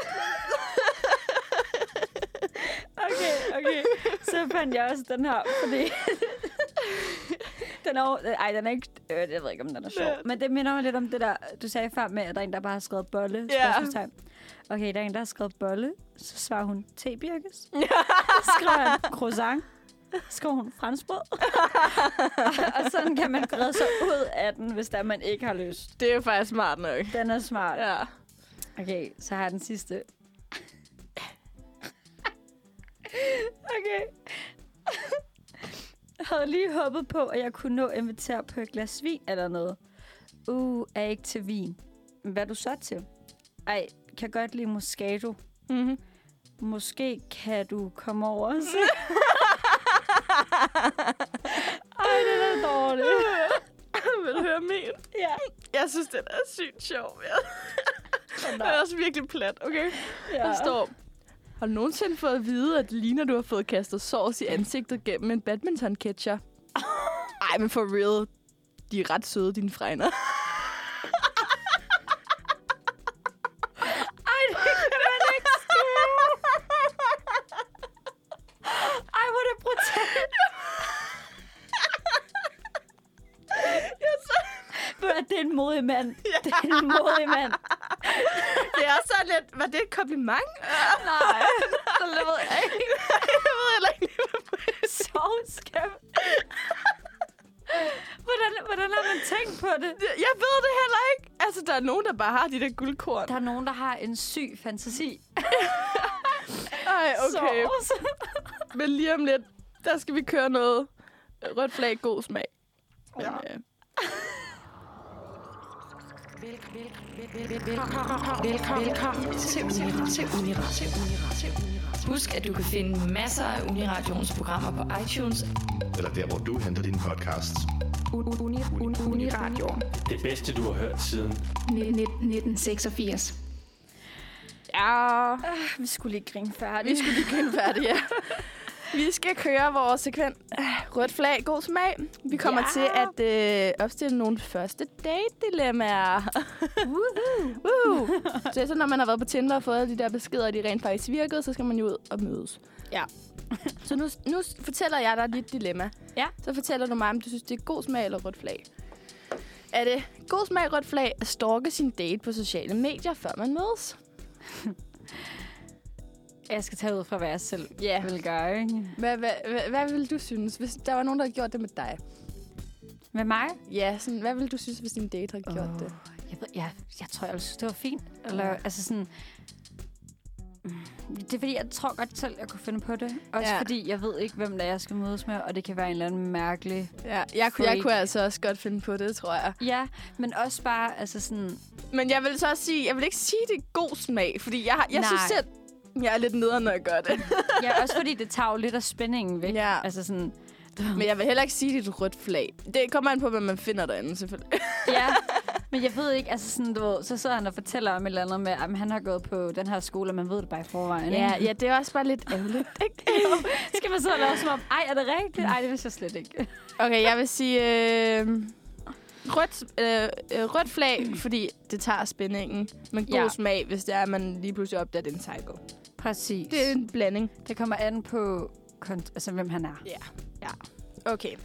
C: Okay, okay. Så fandt jeg også den her, fordi... den er, jo- ej, den er ikke... Øh, jeg ved ikke, om den er sjov.
B: Nej.
C: Men det minder mig lidt om det der, du sagde før med, at der er en, der bare har skrevet bolle.
B: Ja.
C: spørgsmålstegn. Okay, der er en, der har skrevet bolle. Så svarer hun tebirkes. Så skriver han croissant. Så skriver hun franskbrød. og, og sådan kan man redde sig ud af den, hvis der man ikke har lyst.
B: Det er jo faktisk smart nok.
C: Den er smart.
B: Ja.
C: Okay, så har jeg den sidste. okay. Jeg havde lige håbet på, at jeg kunne nå at invitere på et glas vin eller noget. Uh, er ikke til vin. Men Hvad er du så til? Ej, kan godt lide Moscato. Mhm.
B: Mm-hmm.
C: Måske kan du komme over og se. Ej, det er dårligt.
B: Vil du høre min?
C: Ja,
B: Jeg synes, den er sygt sjov. Ja. Den
C: nej.
B: er også virkelig plat, okay?
C: ja.
B: Der står... Har du nogensinde fået at vide, at det ligner, du har fået kastet sovs i ansigtet gennem en badminton-catcher? Ej, men for real. De er ret søde, dine fregner.
C: Ej, det kan man ikke skrive. Ej, hvor er det brutalt. Ved du hvad, Det er en modig mand. Det er en modig mand.
B: Det er så lidt... Var det et kompliment?
C: Nej, det ved jeg ikke.
B: jeg ved heller ikke, hvad
C: Sovskab. Hvordan, hvordan har man tænkt på det?
B: Jeg ved det heller ikke. Altså, der er nogen, der bare har de der guldkorn.
C: Der er nogen, der har en syg fantasi.
B: Ej, okay.
C: Sovs.
B: Men lige om lidt, der skal vi køre noget rødt flag, god smag. Men,
C: Ja.
B: øh,
D: Velkommen, velkommen til Unira. Til Unira. Til Unira. Til Unira. Husk, at du kan finde masser af Uniradions programmer på iTunes.
E: eller der, hvor du henter dine podcasts.
D: Uniradio.
F: Det bedste, du har hørt siden
D: 1986.
B: ja.
C: Vi skulle lige grine
B: Vi
C: færdigt.
B: skulle lige kende færdige, ja. Vi skal køre vores sekvent øh, rødt flag, god smag. Vi kommer
C: Ja.
B: ja. til at øh, opstille nogle første date-dilemmaer. Woohoo! Så det er sådan, når man har været på Tinder og fået de der beskeder, og de rent faktisk virkede, så skal man jo ud og mødes.
C: Ja.
B: så nu, nu fortæller jeg dig dit dilemma.
C: Ja.
B: Så fortæller du mig, om du synes, det er god smag eller rødt flag. Er det god smag rødt flag at stalke sin date på sociale medier, før man mødes?
C: Jeg skal tage ud fra, hvad jeg selv
B: Ja.
C: vil gøre, ikke?
B: Hvad, hvad, hvad, hvad ville du synes, hvis der var nogen, der havde gjort det med dig?
C: Med mig?
B: Ja, sådan, hvad ville du synes, hvis din date havde gjort
C: Åh,
B: det?
C: Jeg, ved, jeg, jeg tror, jeg ville synes, det var fint. Eller,
B: Ja.
C: altså sådan, Mm, det er fordi, jeg tror godt selv, jeg kunne finde på det. Også ja.
B: Ja.
C: fordi, jeg ved ikke, hvem det er, jeg skal mødes med, og det kan være en eller anden mærkelig...
B: Ja, jeg, kunne, jeg
C: Freak.
B: kunne altså også godt finde på det, tror jeg.
C: Ja, men også bare, altså sådan...
B: Men jeg vil så også sige, jeg vil ikke sige, det er god smag, fordi jeg, har- jeg synes
C: Nej.
B: selv, jeg er lidt nederen, når jeg gør det.
C: Ja, også fordi det tager jo lidt af spændingen væk.
B: Ja.
C: Altså sådan...
B: Men jeg vil heller ikke sige, det er et rødt flag. Det kommer an på, hvad man finder derinde, selvfølgelig.
C: Ja, Men jeg ved ikke, altså sådan, du ved, så sidder han og fortæller om et eller andet med, at han har gået på den her skole, og man ved det bare i forvejen.
B: Ja,
C: ikke?
B: ja, det er også bare lidt ærgerligt. ikke?
C: Skal man sidde og lave som om, ej, er det rigtigt? Ej, det vidste jeg slet ikke.
B: Okay, jeg vil sige øh, rødt, øh, øh, rødt flag, fordi det tager spændingen. Men god
C: Ja.
B: ja. smag, hvis det er, at man lige pludselig opdager den cycle.
C: Præcis.
B: Det er en blanding.
C: det kommer an på, kont- altså, hvem han er.
B: Okay.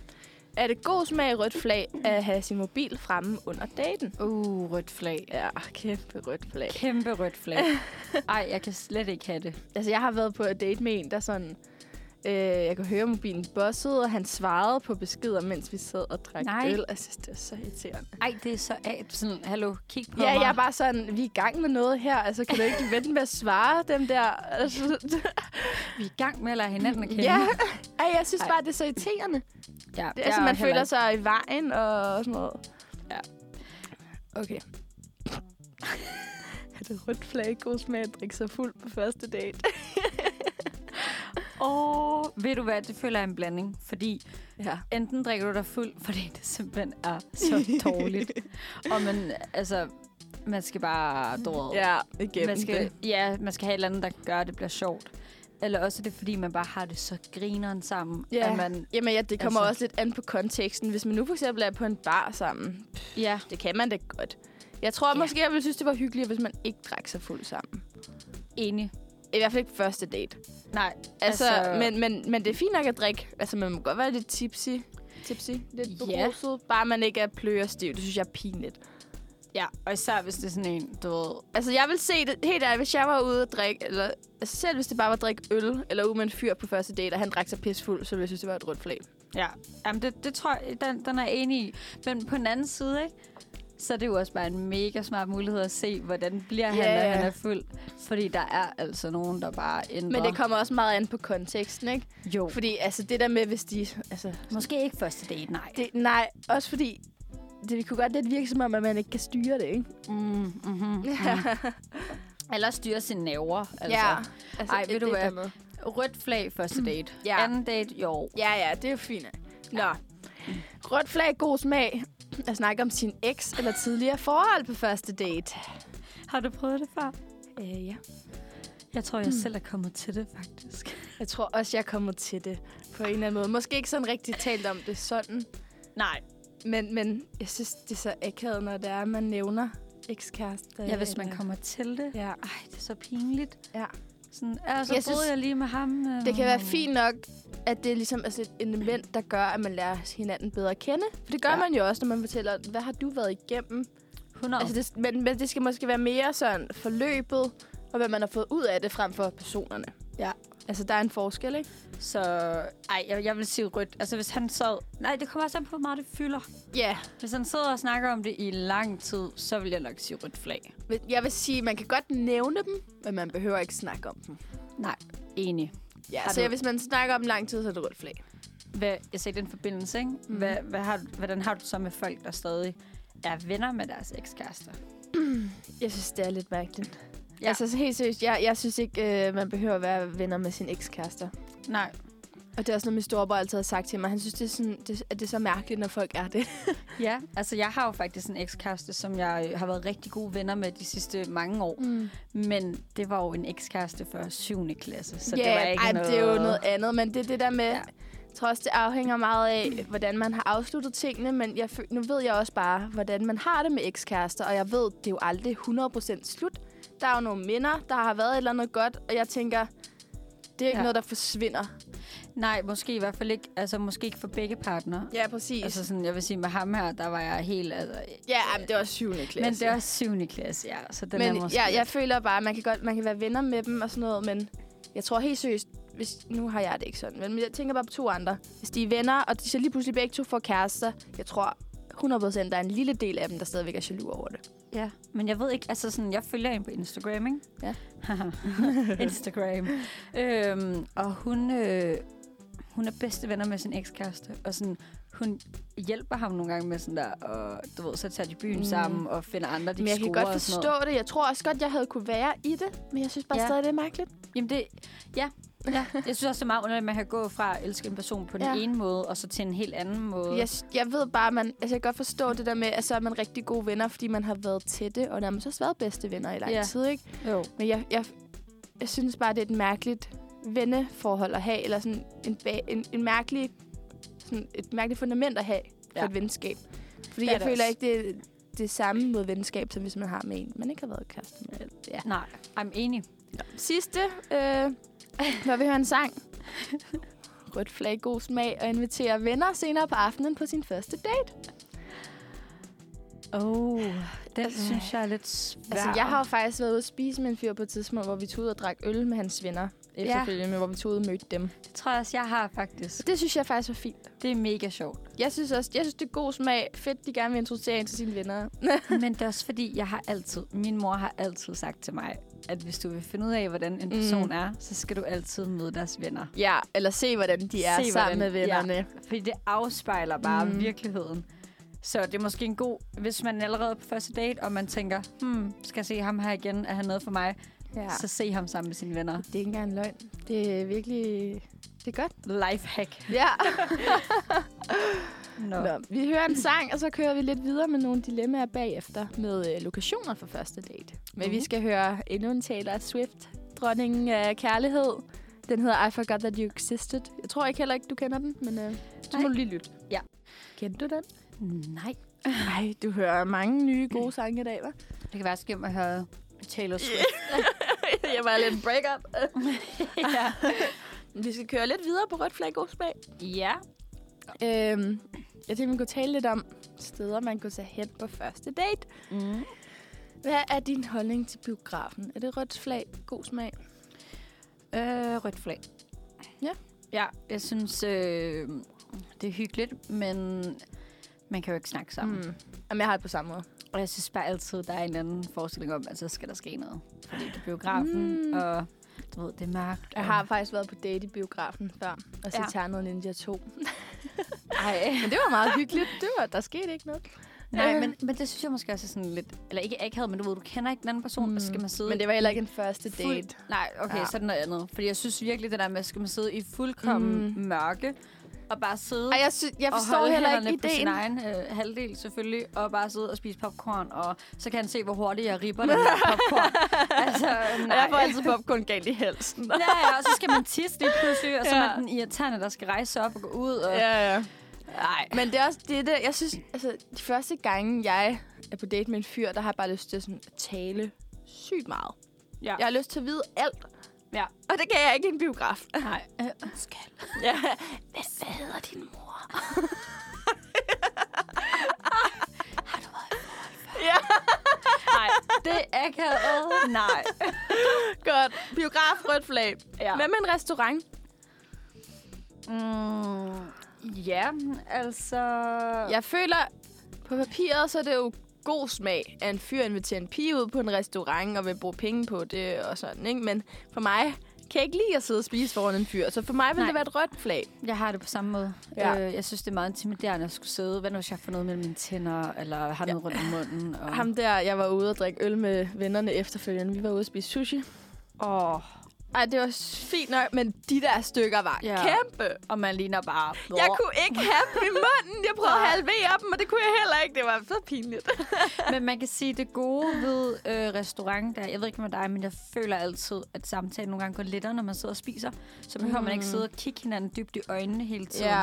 B: Er det god smag i rødt flag at have sin mobil fremme under daten?
C: Uh, rødt flag.
B: Ja, kæmpe rødt flag.
C: Kæmpe rødt flag. Ej, jeg kan slet ikke have det.
B: Altså, jeg har været på et date med en, der sådan... Øh, jeg kunne høre mobilen bossede, og han svarede på beskeder, mens vi sad og drak
C: Nej.
B: øl. Jeg synes, det var så irriterende.
C: Ej, det er så af. Sådan, hallo, kig på
B: Ja,
C: mig.
B: jeg er bare sådan, vi er i gang med noget her. Altså, kan du ikke vente med at svare dem der? Altså,
C: Vi er i gang med at lære hinanden at kende.
B: ja. Ej, jeg synes
C: Ej.
B: bare, det er så irriterende.
C: ja
B: Det er, altså, man føler sig i vejen og sådan noget.
C: Ja.
B: Okay. er det rødt flag god smag at drikke sig fuld på første date?
C: Åh, oh, ved du hvad, det føler jeg er en blanding, fordi
B: Ja.
C: enten drikker du dig fuld, fordi det simpelthen er så dårligt, og man, altså, man skal bare dårlig.
B: Ja, igen.
C: man skal, ja, man skal have et eller andet, der gør, at det bliver sjovt. Eller også er det, fordi man bare har det så grineren sammen,
B: Ja.
C: at man,
B: Jamen ja, det kommer
C: Altså-
B: altså. også lidt an på konteksten. Hvis man nu for eksempel er på en bar sammen,
C: ja,
B: det kan man da godt. Jeg tror
C: Ja.
B: ja. måske, jeg ville synes, det var hyggeligere, hvis man ikke drak sig fuld sammen.
C: enig.
B: I hvert fald ikke første date.
C: Nej,
B: Altså,
C: Altså-
B: altså... Men, men, men det er fint nok at drikke. Altså, man må godt være lidt tipsy. Tipsy? Lidt
C: Ja.
B: beruset. Bare man ikke er plø og stiv. Det synes jeg er pinligt.
C: ja, og især hvis det er sådan en, du ved,
B: Altså, jeg vil se det helt ærligt, hvis jeg var ude og drikke, eller altså, selv hvis det bare var at drikke øl, eller ude med en fyr på første date, og han drak sig pissfuld, så ville jeg synes, det var et rødt flag.
C: ja, jamen det, det tror jeg, den, den er jeg enig i. Men på den anden side, ikke? så er det jo også bare en mega smart mulighed at se, hvordan bliver han,
B: Ja,
C: når
B: ja.
C: han er fuld. Fordi der er altså nogen, der bare ændrer.
B: Men det kommer også meget an på konteksten, ikke?
C: jo.
B: Fordi altså, det der med, hvis de... Altså,
C: Måske ikke første date, nej.
B: det, nej, også fordi... Det, det kunne godt lidt virke som om, at man ikke kan styre det, ikke?
C: Mm, mm-hmm, mm. Eller styre sine nerver. Altså.
B: Altså,
C: Ej, ved
B: det-
C: du
B: det
C: hvad?
B: der med.
C: Rødt flag første date.
B: Mm. Ja.
C: Anden date, jo.
B: Ja, ja, det er jo fint. nok. Nå. Rødt flag, god smag. At snakke om sin eks eller tidligere forhold på første date.
C: Har du prøvet det før?
B: Øh, ja.
C: Jeg tror, jeg mm. selv er kommet til det, faktisk.
B: Jeg tror også, jeg kommer til det på en eller anden måde. Måske ikke sådan rigtig talt om det sådan.
C: Nej.
B: Men, men jeg synes, det er så akavet, når det er, at man nævner ekskæreste.
C: Ja, hvis man
B: eller-
C: kommer til det.
B: Ja.
C: Ej, øh, det er så pinligt.
B: Ja.
C: Sådan, ja, så jeg
B: Jeg
C: boede
B: synes-
C: jeg lige med ham. øh,
B: Det kan være fint nok, at det er ligesom altså et element, der gør, at man lærer hinanden bedre at kende. For det gør
C: Ja.
B: ja. man jo også, når man fortæller, hvad har du været igennem?
C: 100.
B: Altså det, men, men det skal måske være mere sådan forløbet, og hvad man har fået ud af det, frem for personerne.
C: Ja.
B: Altså, der er en forskel, ikke?
C: Så, ej, jeg, jeg vil sige rødt. Altså, hvis han sad... Nej, det kommer også an på, hvor meget det fylder.
B: Ja.
C: Hvis han sidder og snakker om det i lang tid, så vil jeg nok sige rødt flag.
B: Men Jeg vil sige, man kan godt nævne dem, men man behøver ikke snakke om dem.
C: Nej, enig.
B: Ja,
C: Har
B: så
C: du-
B: hvis man snakker om lang tid, så er det rødt flag.
C: Hvad, jeg sagde den forbindelse, ikke? Mm. Hvad, hvad har, du- hvordan har du så med folk, der stadig er venner med deres ekskærester?
B: Jeg synes, det er lidt mærkeligt.
C: Ja.
B: Ja. Altså, så helt seriøst, jeg, jeg synes ikke, øh, man behøver at være venner med sin ekskærester.
C: Nej.
B: Og det er også noget, min storebror altid har sagt til mig. Han synes, det er, sådan, det, at det er så mærkeligt, når folk er det.
C: Ja, altså jeg har jo faktisk en ekskæreste, som jeg øh, har været rigtig gode venner med de sidste mange år. Mm. Men det var jo en ekskæreste fra 7. klasse, så det var ikke
B: ej,
C: noget...
B: det er jo noget andet, men det er det der med...
C: Ja.
B: Ja. Jeg tror også, det afhænger meget af, hvordan man har afsluttet tingene, men jeg føl- nu ved jeg også bare, hvordan man har det med ekskærester, og jeg ved, det er jo aldrig 100% slut. Der er jo nogle minder, der har været et eller andet godt, og jeg tænker, det er ikke
C: Ja.
B: ja. noget, der forsvinder.
C: Nej, måske i hvert fald ikke, altså måske ikke for begge partnere.
B: Ja, præcis.
C: Altså
B: Altså,
C: sådan, jeg vil sige, med ham her, der var jeg helt... Altså,
B: ja, men det er også 7. klasse.
C: men det er også 7. klasse, ja, så den er
B: men
C: måske...
B: jeg, jeg føler bare, at man kan, godt, man kan være venner med dem og sådan noget, men jeg tror helt seriøst, hvis, nu har jeg det ikke sådan, men jeg tænker bare på to andre. Hvis de er venner, og de så lige pludselig begge to får kærester, jeg tror 100% der er en lille del af dem, der stadigvæk er jaloux over det.
C: Ja, men jeg ved ikke, altså sådan, jeg følger hende på Instagram, ikke?
B: Ja.
C: Instagram. øhm, og hun, øh, hun er bedste venner med sin ekskæreste, og sådan, hun hjælper ham nogle gange med sådan der, og du ved, så tager de byen mm. sammen og finder andre, de
B: Men jeg kan
C: scorer
B: godt
C: og sådan
B: forstå det. Jeg tror også godt, jeg havde kunne være i det, men jeg synes bare
C: Ja.
B: ja. stadig, det er mærkeligt.
C: Noget. Jamen det, ja, Ja. Jeg synes også, det er meget underligt, at man kan gå fra at elske en person på den
B: Ja.
C: ene måde, og så til en helt anden måde.
B: Jeg, jeg ved bare, man, altså jeg kan godt forstå det der med, at så er man rigtig gode venner, fordi man har været tætte, og der har man så også været bedste venner i lang
C: Ja.
B: tid, ikke?
C: Jo.
B: Men jeg, jeg, jeg synes bare, det er et mærkeligt venneforhold at have, eller sådan en, ba- en, en mærkelig, sådan et mærkeligt fundament at have for
C: Ja.
B: et venskab. Fordi
C: Det er
B: jeg
C: det
B: føler
C: også.
B: ikke, det er det samme mod venskab, som hvis man har med en, man ikke har været kæreste med. Ja.
C: Nej, I'm enig.
B: Sidste, øh, hvor vi hører en sang. Rødt flag, god smag og inviterer venner senere på aftenen på sin første date.
C: Oh, den synes jeg er lidt svær.
B: Altså, jeg har jo faktisk været ude at spise med en fyr på et tidspunkt, hvor vi tog ud og drak øl med hans venner. Efterfølgende, ja. hvor vi tog ud og mødte dem.
C: Det tror jeg også, jeg har faktisk.
B: Så det synes jeg faktisk var fint.
C: Det er mega sjovt.
B: Jeg synes også, jeg synes, det er god smag. Fedt, de gerne vil introducere en til sine venner.
C: Men det er også fordi, jeg har altid, min mor har altid sagt til mig, at hvis du vil finde ud af, hvordan en person
B: Mm.
C: mm. er, så skal du altid møde deres venner.
B: Ja, eller se, hvordan de er se,
C: Se,
B: sammen
C: hvordan-
B: med vennerne. Ja.
C: Fordi det afspejler bare
B: Mm.
C: mm. virkeligheden. Så det er måske en god, hvis man allerede er på første date, og man tænker, hmm, skal jeg se ham her igen, er han noget for mig?
B: ja.
C: Ja. Så se ham sammen med sine venner.
B: det er ikke engang en løgn. Det er virkelig... Det er godt.
C: Lifehack.
B: Ja.
C: Nå.
B: Nå, vi hører en sang, og så kører vi lidt videre med nogle dilemmaer bagefter med øh, lokationer for første date. Men uh. vi skal høre endnu en Taylor Swift, dronningen af kærlighed. Den hedder I Forgot That You Existed. Jeg tror ikke heller ikke, du kender den, men øh, så må
C: Nej.
B: du lige lytte.
C: Ja.
B: Kendte du den?
C: Nej.
B: Nej, du hører mange nye gode sange i dag, hva'?
C: Det kan være skønt at høre Taylor Swift.
B: jeg var lidt break-up. ja. Vi skal køre lidt videre på rødt flag god smag.
C: ja.
B: Øhm, jeg tænkte, vi kunne tale lidt om steder, man kunne tage hen på første date.
C: Mm.
B: Hvad er din holdning til biografen? Er det rødt flag god smag?
C: Øh, rødt flag.
B: Ja.
C: Ja, jeg synes, øh, det er hyggeligt, men man kan jo ikke snakke sammen. Mm.
B: Jamen, jeg har det på samme måde.
C: Og jeg synes bare altid, der er en eller anden forestilling om, at så skal der ske noget. Fordi det er biografen, mm. og du ved, det er mørkt.
B: Jeg
C: og-
B: har faktisk været på date i biografen før, og set
C: Ja.
B: ja. Ternet Ninja 2. Men
C: Ej.
B: det var meget hyggeligt. Det var, der skete ikke noget. Øh.
C: Nej, men, men det synes jeg måske også er sådan lidt... Eller ikke akavet, men du ved, du kender ikke den anden person, mm. og så skal man sidde...
B: Men det var heller ikke en første
C: i fuld-
B: date.
C: Nej, okay,
B: Ja.
C: ja. så er det noget andet. Fordi jeg synes virkelig, det der med, at skal man sidde i fuldkommen mm. mørke, og bare sidde...
B: Ej, jeg, sy- jeg
C: og
B: forstår
C: holde
B: heller ikke
C: hænderne på sin
B: ideen.
C: egen øh, halvdel selvfølgelig, og bare sidde og spise popcorn, og så kan han se, hvor hurtigt jeg ripper den her popcorn. altså, nej.
B: popcorn galt i halsen.
C: Ja, ja, og så skal man tisse lige pludselig, og så
B: Ja.
C: ja. er man den irriterende, der skal rejse sig op og gå ud. Og...
B: ja, ja.
C: Ej.
B: Men det er også det, der, jeg synes, altså, de første gange, jeg er på date med en fyr, der har jeg bare lyst til sådan, at tale sygt meget.
C: Ja.
B: Jeg har lyst til at vide alt.
C: Ja.
B: Og det kan jeg ikke i en biograf.
C: Nej.
B: Skal. Ja. Hvad, hvad hedder din mor?
C: Nej, det er akavet. Nej.
B: Godt. Biograf, rødt flag. Ja.
C: Ja.
B: Hvad med en restaurant?
C: Mm, ja, altså...
B: Jeg føler, på papiret, så er det jo god smag, at en fyr inviterer en pige ud på en restaurant og vil bruge penge på det og sådan, ikke? Men for mig kan jeg ikke lide at sidde og spise foran en fyr, så for mig vil
C: Nej.
B: det være et rødt flag.
C: Jeg har det på samme måde.
B: Ja.
C: Ja. Øh, jeg synes, det er meget intimiderende at skulle sidde. Hvad nu, hvis jeg får noget mellem mine tænder, eller har noget rundt om munden? Og...
B: Ham der, jeg var ude og drikke øl med vennerne efterfølgende. Vi var ude og spise sushi.
C: Åh,
B: Ej, det var s- fint nok, men de der stykker var ja.
C: Ja.
B: kæmpe.
C: og man ligner bare...
B: Jeg kunne ikke have dem i munden. Jeg prøvede at halvere dem, og det kunne jeg heller ikke. Det var så pinligt.
C: Men man kan sige, det gode ved øh, restaurant, der, jeg ved ikke med dig, men jeg føler altid, at samtalen nogle gange går lettere, når man sidder og spiser. Så behøver mm. man ikke sidde og kigge hinanden dybt i øjnene hele tiden.
B: Ja.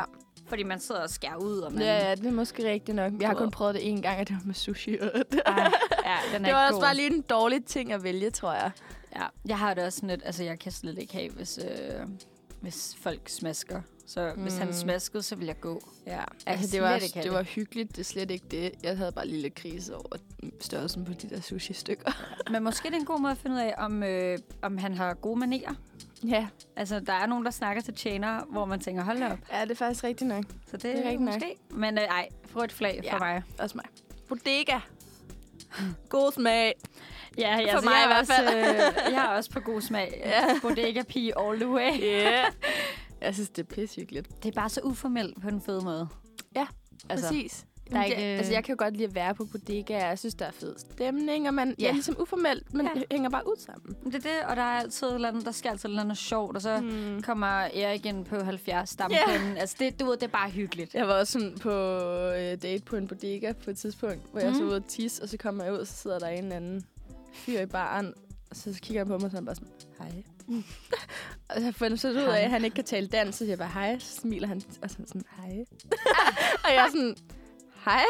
C: Fordi man sidder og skærer ud, og man...
B: ja, ja, det er måske rigtigt nok. Jeg har kun prøvet det én gang, og det var med sushi. det
C: Ej, Ah, ja den er
B: det
C: ikke
B: var også
C: god.
B: bare lige en dårlig ting at vælge, tror jeg.
C: Ja, jeg har det også sådan lidt, altså jeg kan slet ikke have, hvis, øh, hvis folk smasker. Så mm. hvis han smaskede, så vil jeg gå.
B: Ja,
C: kan
B: altså, det
C: slet
B: var,
C: ikke have
B: det
C: det.
B: var hyggeligt. Det er slet ikke det. Jeg havde bare en lille krise over størrelsen på de der sushi-stykker.
C: Men måske det er en god måde at finde ud af, om, øh, om han har gode manerer.
B: Ja.
C: Altså, der er nogen, der snakker til tjener, hvor man tænker, hold da op.
B: ja, det er faktisk rigtigt nok.
C: Så det,
B: er
C: det er
B: rigtigt nok.
C: måske. Men øh, ej, rødt flag
B: Ja.
C: for mig.
B: Også mig. Bodega. God smag.
C: Ja, ja
B: For
C: så
B: mig
C: jeg
B: i
C: er
B: hvert
C: også, øh, jeg er også på god smag.
B: Ja.
C: Ja. Bodega-pige all the way.
B: Yeah. jeg synes, det er pissehyggeligt.
C: Det er bare så uformelt på en fed måde.
B: Ja,
C: Altså,
B: Præcis.
C: Der er
B: Jamen, det,
C: ikke, øh,
B: altså, jeg kan jo godt lide at være på bodegaer. Jeg synes, der er fed stemning, og man
C: Ja.
B: ja. er ligesom uformelt, men
C: Ja.
B: ja. hænger bare ud sammen.
C: Det er det, og der er altid et eller andet, der skal altid et eller andet sjovt, og så mm. kommer Erik ind på 70 stampinden. Yeah. Altså, det, du ved, det er bare hyggeligt.
B: Jeg var også sådan på øh, date på en bodega på et tidspunkt, hvor mm. jeg så
C: Mhm.
B: ud og tisse, og så kommer jeg ud, og så sidder der en eller anden fyr i baren, og så kigger han på mig, og så er han bare sådan, hej. og så finder så ud af, at han ikke kan tale dansk, så siger jeg bare hej, så smiler han, og så er han sådan, hej. og jeg er sådan, hej.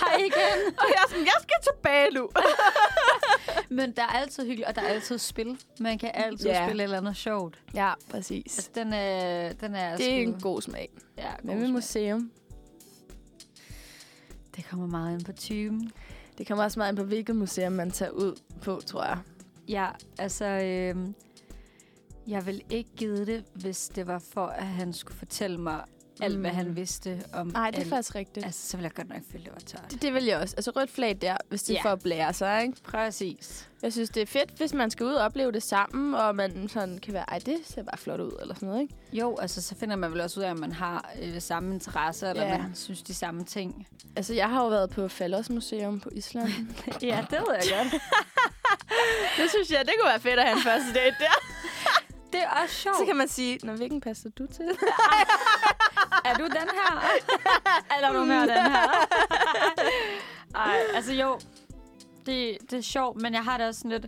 C: Hej igen!
B: Og jeg er sådan, jeg skal tilbage nu.
C: Men der er altid hyggeligt, og der er altid spil. Man kan altid
B: Ja.
C: yeah. spille et eller andet sjovt.
B: ja, præcis.
C: Altså, den er, den er
B: Det er
C: sgu-
B: en god smag.
C: Ja,
B: Men med
C: god smag.
B: museum,
C: Det kommer meget ind på typen.
B: det kommer også meget ind på, hvilket museum man tager ud på, tror jeg.
C: Ja, altså... Øh, jeg vil ikke give det, hvis det var for, at han skulle fortælle mig alt, hvad han vidste om
B: Mm. Nej, det er
C: alt.
B: faktisk rigtigt. Altså,
C: Altså, så vil jeg godt nok føle, det var tørt.
B: det, det vil jeg også. Altså rødt flag der, hvis det
C: Ja.
B: ja. får blære sig, ikke?
C: Præcis.
B: Jeg synes, det er fedt, hvis man skal ud og opleve det sammen, og man sådan kan være, ej, det ser bare flot ud, eller sådan noget, ikke?
C: Jo, altså så finder man vel også ud af, at man har øh, samme interesser, eller
B: Ja.
C: man synes de samme ting.
B: Altså, jeg har jo været på Fallos Museum på Island.
C: Ja, det ved jeg godt.
B: det synes jeg, det kunne være fedt at have en første date der.
C: Det er også sjovt.
B: Så kan man sige, Nå, hvilken passer du til?
C: Er du den her? Eller er du mere den her? Ej, altså jo, det, det er sjovt, men jeg har det også sådan lidt...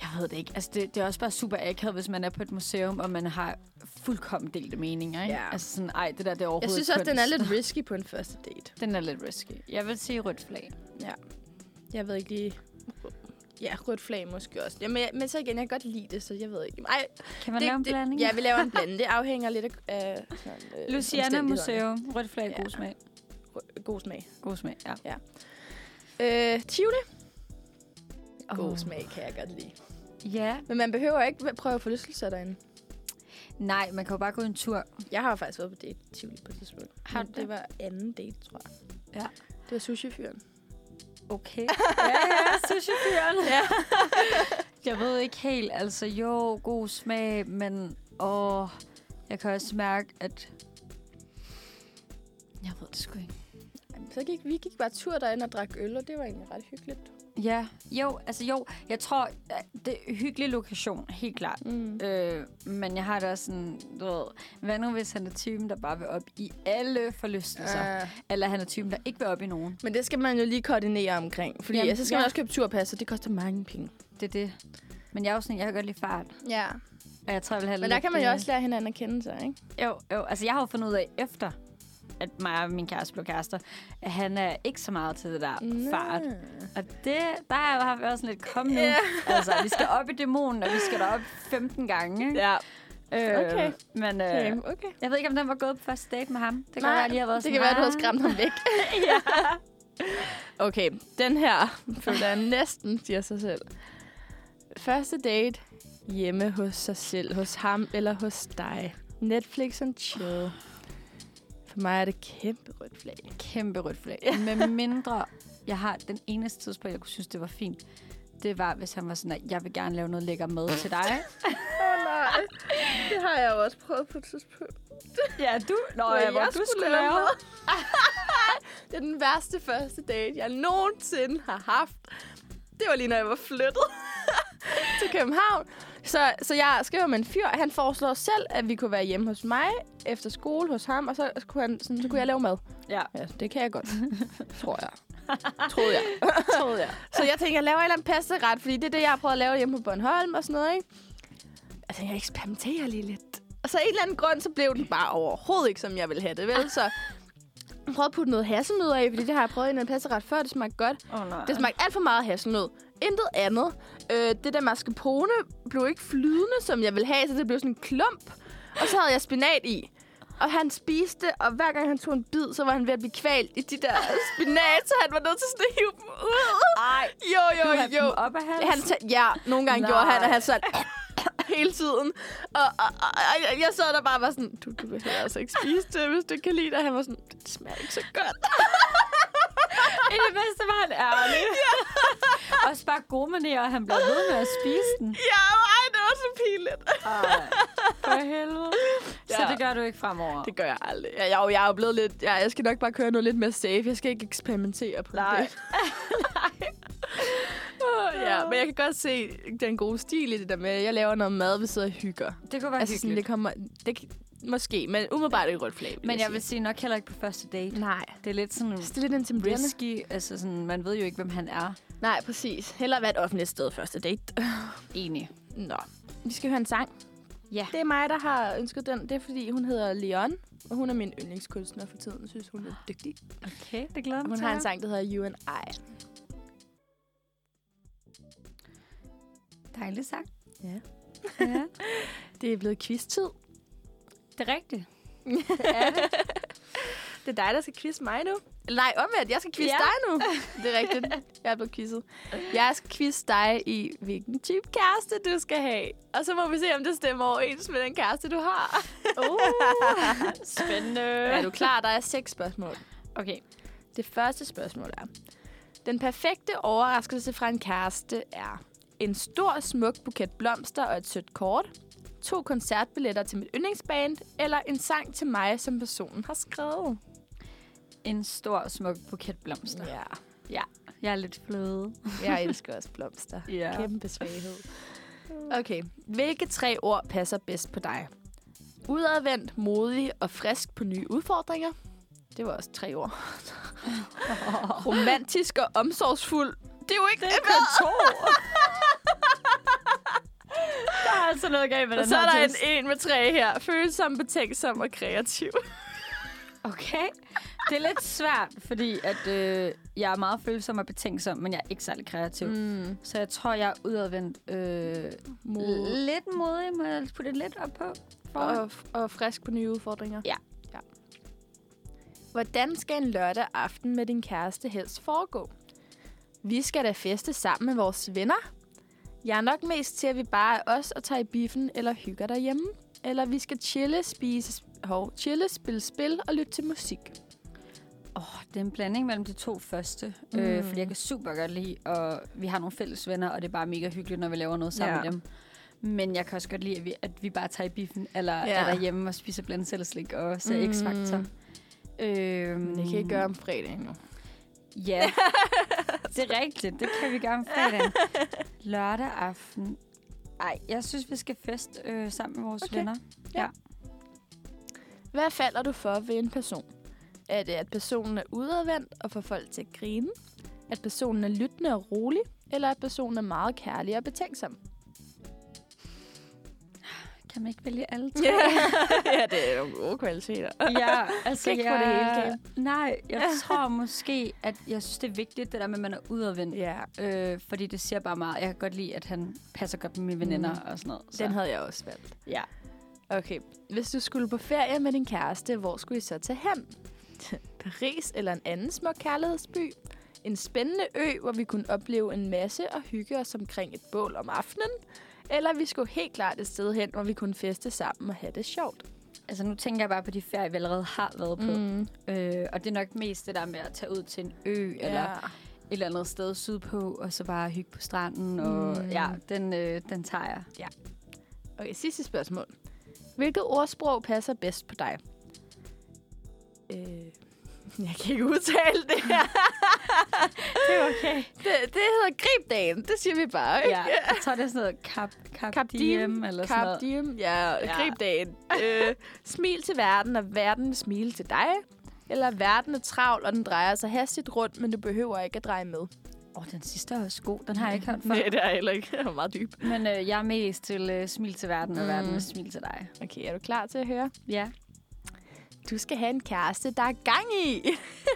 C: Jeg ved det ikke. Altså, det, det er også bare super akavet, hvis man er på et museum, og man har fuldkommen delte meninger, ikke?
B: Ja.
C: Altså sådan, ej, det der, det er overhovedet
B: Jeg synes også, den er
C: kunst.
B: lidt risky på en første date.
C: Den er lidt risky. Jeg vil sige rødt flag.
B: Jeg ved ikke lige... Ja, rødt flag måske også. Jamen, jeg, men så igen, jeg kan godt lide det, så jeg ved ikke. Ej,
C: Kan man
B: det,
C: lave en
B: det,
C: blanding?
B: Ja, vi laver en blanding. Det afhænger lidt af... af sådan, øh,
C: Luciana
B: omstændighederne.
C: Museum. Rødt flag,
B: Ja.
C: god smag.
B: Rød- God smag.
C: God smag, ja.
B: Øh, Tivoli. God
C: Åh.
B: smag kan jeg godt lide.
C: Ja.
B: Men man behøver ikke prøve forlystelser derinde.
C: Nej, man kan jo bare gå en tur.
B: Jeg har faktisk været på date i Tivoli på et tidspunkt.
C: Har
B: Men
C: du det?
B: det? var anden date, tror jeg.
C: Ja.
B: Det var sushi-fyren.
C: Okay. ja, ja, sushi-fyren. ja. jeg ved ikke helt, altså jo, god smag, men åh, jeg kan også mærke, at... Jeg ved det sgu ikke.
B: Jamen, Så gik vi gik bare tur derinde og drak øl, og det var egentlig ret hyggeligt.
C: Ja, jo, altså jo, jeg tror, at det er en hyggelig lokation, helt klart.
B: Mm.
C: Øh, men jeg har da også sådan, du ved, hvad nu hvis han er typen, der bare vil op i alle forlystelser?
B: Uh,
C: Eller han er typen, der ikke vil op i nogen?
B: men det skal man jo lige koordinere omkring. Fordi
C: Jamen,
B: Jamen, så skal
C: ja.
B: ja. man også købe turpas, og det koster mange penge.
C: Det er det. Men jeg er jo sådan, jeg kan godt lide fart.
B: Ja.
C: Og jeg tror, jeg vil have
B: Men der
C: lidt,
B: kan man jo
C: øh,
B: også lære hinanden at kende sig, ikke?
C: Jo, jo. Altså, jeg har jo fundet ud af efter, at mig og min kæreste blev kærester, at han er ikke så meget til det der Nå. fart. Og det, der har jeg været sådan lidt, kom nu. Yeah. altså, vi skal op i dæmonen, og vi skal derop 15 gange. Ikke?
B: Ja.
C: Øh,
B: Okay.
C: Men øh,
B: Okay. okay.
C: jeg ved ikke, om den var gået på første date med ham. Det kan
B: Nej,
C: være, at jeg har været
B: det
C: sådan,
B: kan være, du har
C: "Ah."
B: skræmt ham væk.
C: ja.
B: Okay, den her føler jeg næsten siger sig selv. Første date hjemme hos sig selv, hos ham eller hos dig. Netflix and chill. For mig er det kæmpe rødt flag.
C: Kæmpe rødt flag. Med mindre, jeg har den eneste tidspunkt, jeg kunne synes, det var fint, det var, hvis han var sådan, at jeg vil gerne lave noget lækker mad til dig.
B: Åh nej, det har jeg jo også prøvet på et tidspunkt.
C: ja, du. Nå,
B: Hvor
C: ja, hvor
B: jeg
C: du
B: skulle
C: skulle
B: lave
C: lave.
B: mad. Det er den værste første date, jeg nogensinde har haft. Det var lige, når jeg var flyttet til København. Så, så jeg skriver med en fyr, han foreslår selv, at vi kunne være hjemme hos mig efter skole hos ham, og så kunne, han, sådan, så kunne jeg lave mad.
C: Ja.
B: ja det kan jeg godt, tror jeg. Troede jeg.
C: troede jeg.
B: Så jeg tænker, jeg laver en eller anden pastaret, fordi det er det, jeg har prøvet at lave hjemme på Bornholm og sådan noget, ikke? Jeg tænker, Altså, jeg eksperimenterer lige lidt. Og så af en eller anden grund, så blev den bare overhovedet ikke, som jeg ville have det, vel? Så jeg prøvede at putte noget hasselnødder i, fordi det har jeg prøvet i en anden pastaret før, det smagte godt.
C: Åh, oh, nej.
B: Det smagte alt for meget hasselnød. Intet andet. Øh, det der mascarpone blev ikke flydende, som jeg ville have, så det blev sådan en klump. Og så havde jeg spinat i. Og han spiste, og hver gang han tog en bid, så var han ved at blive kvalt i de der spinat, så han var nødt til sådan at hive dem ud.
C: Ej,
B: Jo, jo, jo.
C: op af halsen.
B: Han ta- ja, nogle gange
C: Nej.
B: Nej. gjorde han, at han sådan hele tiden. Og, og, og, og jeg- jeg sad der bare og var sådan, du, du behøver altså ikke spise det, hvis du ikke kan lide det. Og han var sådan, det smager ikke så godt.
C: I det bedste var han ærlig. ja. Også bare gode manerer, og han blev ved med at spise den.
B: Ja, ej, det var så pinligt.
C: Ej, for helvede.
B: Ja,
C: Så det gør du ikke fremover.
B: Det gør jeg aldrig. Jeg, jeg, er jo- jeg er jo blevet lidt... Jeg, jeg skal nok bare køre noget lidt mere safe. Jeg skal ikke eksperimentere på
A: Nej.
B: det. Åh, ja, men jeg kan godt se den gode stil i det der med, at jeg laver noget mad, vi sidder og hygger.
C: Det kunne være
B: altså,
C: altså,
B: sådan, det
C: hyggeligt.
B: kommer... Det, kan- måske, men umiddelbart er det et rødt flag.
C: Men jeg vil sige nok heller ikke på første date.
B: Nej.
C: Det er lidt sådan
B: Det er lidt intimiderende.
C: risky. Altså sådan, man ved jo ikke, hvem han er.
B: Nej, præcis. Heller være et offentligt sted første date.
C: Enig.
B: Nå. Vi skal høre en sang.
C: Ja.
B: Det er mig, der har ønsket den. Det er, fordi hun hedder Leon, og hun er min yndlingskunstner for tiden. Jeg synes, hun er dygtig.
C: Okay, det glæder jeg mig
B: Hun
C: til.
B: har en sang, der hedder You and I.
C: Dejlig sang.
B: Ja.
C: ja.
B: Det er blevet quiz-tid.
C: Det er rigtigt.
B: Det er dig, der skal quizze mig nu. Eller Nej, omvendt. Jeg skal quizze
C: Ja.
B: dig nu. Det er rigtigt. Jeg er blevet quizzet. Jeg skal quizze dig i, hvilken type kæreste du skal have. Og så må vi se, om det stemmer overens med den kæreste, du har. Uh.
C: Spændende.
B: er du klar? Der er seks spørgsmål.
C: Okay.
B: Det første spørgsmål er... Den perfekte overraskelse fra en kæreste er... En stor, smuk buket blomster og et sødt kort. To koncertbilletter til mit yndlingsband. Eller en sang til mig, som personen har skrevet.
C: En stor, smuk buket blomster.
B: Ja,
C: Jeg er lidt fløde.
B: jeg elsker også blomster.
C: Ja.
B: Kæmpe svaghed. Okay, hvilke tre ord passer bedst på dig? Udadvendt, modig og frisk på nye udfordringer. Det var også tre ord. Romantisk og omsorgsfuld. Det er jo ikke det.
C: to. der er altså noget galt med
B: Og
C: den
B: så er
C: her
B: der en
C: test.
B: en med tre her. Følsom, betænksom og kreativ.
C: Okay. Det er lidt svært, fordi at, øh, jeg er meget følsom og betænksom, men jeg er ikke særlig kreativ. Mm. Så jeg tror, jeg er udadvendt øh, lidt modig. Må jeg putte det lidt op på? foran?
B: Og, og frisk på nye udfordringer.
C: Ja.
B: ja. Hvordan skal en lørdag aften med din kæreste helst foregå? Vi skal da feste sammen med vores venner. Jeg er nok mest til, at vi bare er os og tager i biffen eller hygger derhjemme. Eller vi skal chille, spise, hov, chille, spille spil og lytte til musik.
C: Åh, oh, det er en blanding mellem de to første. Mm. Øh, fordi jeg kan super godt lide, og vi har nogle fælles venner, og det er bare mega hyggeligt, når vi laver noget sammen
A: Ja.
C: ja. med dem. Men jeg kan også godt lide, at vi, at vi bare tager i biffen, eller ja.
B: Ja.
C: er derhjemme og spiser blandt selv slik og ser mm. X-Factor. Øhm,
B: Det kan I ikke gøre om fredagen nu.
C: Ja, det er rigtigt. Det kan vi gøre om fredagen. Lørdag aften. Ej, jeg synes, vi skal fest øh, sammen med vores
B: Okay.
C: okay. venner.
B: Hvad falder du for ved en person? Er det, at personen er udadvendt og får folk til at grine? At personen er lyttende og rolig? Eller at personen er meget kærlig og betænksom?
C: Kan man ikke vælge alle tre?
B: ja, det er nogle gode kvaliteter.
C: ja, altså
B: Kan ikke få det hele,
C: Nej, jeg tror måske, at jeg synes, det er vigtigt, det der med, at man er udadvendt.
B: Ja,
C: Øh, fordi det siger bare meget. Jeg kan godt lide, at han passer godt med mine veninder mm. og sådan noget. Så.
B: den havde jeg også valgt.
C: Ja.
B: Okay, hvis du skulle på ferie med din kæreste, hvor skulle I så tage hen? Paris eller en anden smuk kærlighedsby? En spændende ø, hvor vi kunne opleve en masse og hygge os omkring et bål om aftenen? Eller vi skulle helt klart et sted hen, hvor vi kunne feste sammen og have det sjovt?
C: Altså nu tænker jeg bare på de ferier, vi allerede har været på. Mm. Øh, og det er nok mest det der med at tage ud til en ø ja. eller et eller andet sted sydpå, og så bare hygge på stranden. Mm. Og ja, den, øh, den tager jeg.
B: Okay, sidste spørgsmål. Hvilket ordsprog passer bedst på dig? Øh, jeg kan ikke udtale det her.
C: Det er okay.
B: Det, det hedder gribdagen. Det siger vi bare, ikke?
C: Ja, jeg tror, det er sådan noget kap, kap,
B: Cap
C: kap diem, eller sådan
B: Cap
C: noget.
B: diem. Ja, ja.
C: Ja.
B: gribdagen. øh, smil til verden, og verden smil til dig. Eller verden er travl, og den drejer sig hastigt rundt, men du behøver ikke at dreje med.
C: Åh, oh, den sidste er også god. Den har jeg ikke hørt før.
B: det er heller ikke. Det var meget dyb.
C: Men øh, jeg er mest til øh, smil til verden,
B: Mm.
C: og mm. verden er smil til dig.
B: Okay, er du klar til at høre?
C: Ja.
B: Du skal have en kæreste, der er gang i.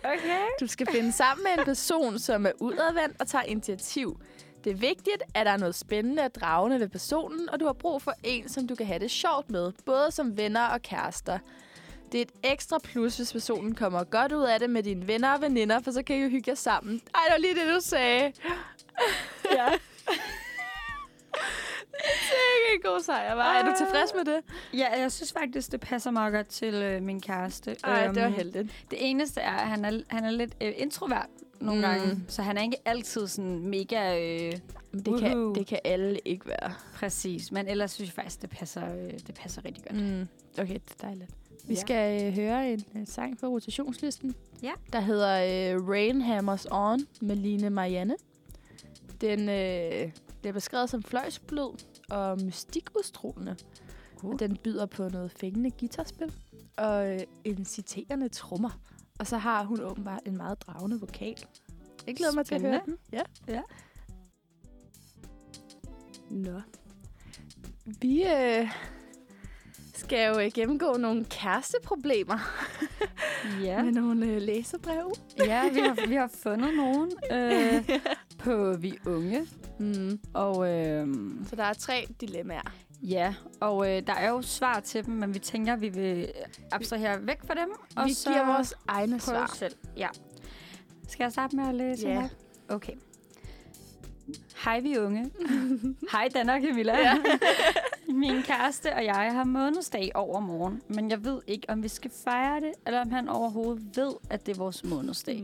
C: Okay.
B: Du skal finde sammen med en person, som er udadvendt og tager initiativ. Det er vigtigt, at der er noget spændende og dragende ved personen, og du har brug for en, som du kan have det sjovt med, både som venner og kærester. Det er et ekstra plus, hvis personen kommer godt ud af det med dine venner og veninder, for så kan I jo hygge jer sammen. Ej, det var lige det, du sagde. Ja. det er ikke en god sejr, var. Er du tilfreds med det?
C: Ja, jeg synes faktisk, det passer meget godt til øh, min kæreste.
B: Ej, det var
C: Øhm,
B: heldigt.
C: Det eneste er, at han er, han er lidt øh, introvert, nogle
B: Mm.
C: mm. gange. Så han er ikke altid sådan mega øh,
B: Det kan,
C: Woohoo.
B: det kan alle ikke være.
C: præcis. Men ellers synes jeg faktisk, det passer, øh, det passer rigtig godt.
B: Mm. Okay, det er dejligt. Vi
C: Ja.
B: skal øh, høre en øh, sang på rotationslisten,
C: Ja.
B: der hedder øh, Rain Hammers On med Line Marianne. Den øh, bliver beskrevet som fløjsblød og mystikudstrålende.
C: Uh.
B: Uh. Den byder på noget fængende guitarspil og øh, en citerende trommer. Og så har hun åbenbart en meget dragende vokal. Jeg glæder mig til at høre den. Ja.
C: Ja.
B: Nå. Vi øh, skal jo øh, gennemgå nogle kæresteproblemer ja.
C: Ja.
B: med nogle øh, læserbrev.
C: ja, vi har, vi har fundet nogen øh, på Vi Unge.
B: Mm.
C: Og øh,
B: Så der er tre dilemmaer.
C: ja, og øh, der er jo svar til dem, men vi tænker, at vi vil abstrahere væk fra dem.
B: Og
C: og
B: vi
C: så
B: giver vores egne
C: prøve
B: svar.
C: selv. Ja. Skal jeg starte med at læse
B: Ja.
C: den op? Okay. Hej, vi unge. Hej, Danne og Camilla. Min kæreste og jeg har månedsdag over morgen, men jeg ved ikke, om vi skal fejre det, eller om han overhovedet ved, at det er vores månedsdag.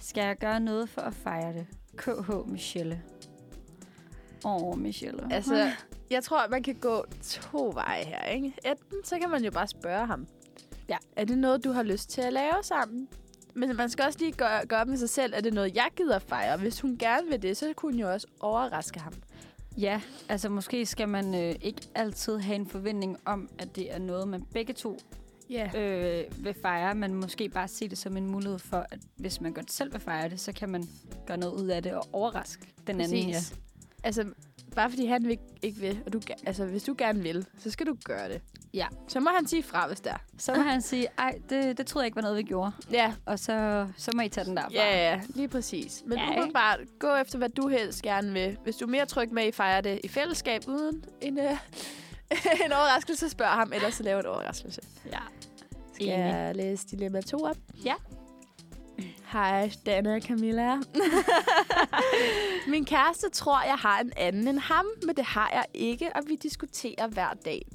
C: Skal jeg gøre noget for at fejre det? KH Michelle. Åh, oh, Michelle.
B: Altså, jeg tror, at man kan gå to veje her, ikke? Enten så kan man jo bare spørge ham.
C: Ja.
B: Er det noget, du har lyst til at lave sammen? Men man skal også lige gøre, gøre op med sig selv, er det noget, jeg gider fejre? Hvis hun gerne vil det, så kunne hun jo også overraske ham.
C: Ja, altså måske skal man øh, ikke altid have en forventning om, at det er noget, man begge to
B: Ja.
C: øh, vil fejre, men måske bare se det som en mulighed for, at hvis man godt selv vil fejre det, så kan man gøre noget ud af det og overraske den anden. Ja.
B: Altså, bare fordi han vil, ikke vil, og du, ge- altså, hvis du gerne vil, så skal du gøre det.
C: Ja.
B: Så må han sige fra, hvis der.
C: Så må han sige, ej, det, det troede jeg ikke var noget, vi gjorde,
B: Ja,
C: og så, så må I tage den derfra.
B: Ja, ja, lige præcis. Men
C: Ja,
B: ja,
C: ikke?
B: umiddelbart, gå efter, hvad du helst gerne vil. Hvis du er mere tryg med, at I fejrer det i fællesskab uden en, øh, en overraskelse, spørg ham, ellers så lav en overraskelse.
C: ja.
B: Skal jeg læse dilemma 2 op?
C: Ja.
B: Hej, Danne og Camilla. Min kæreste tror, jeg har en anden end ham, men det har jeg ikke, og vi diskuterer hver dag.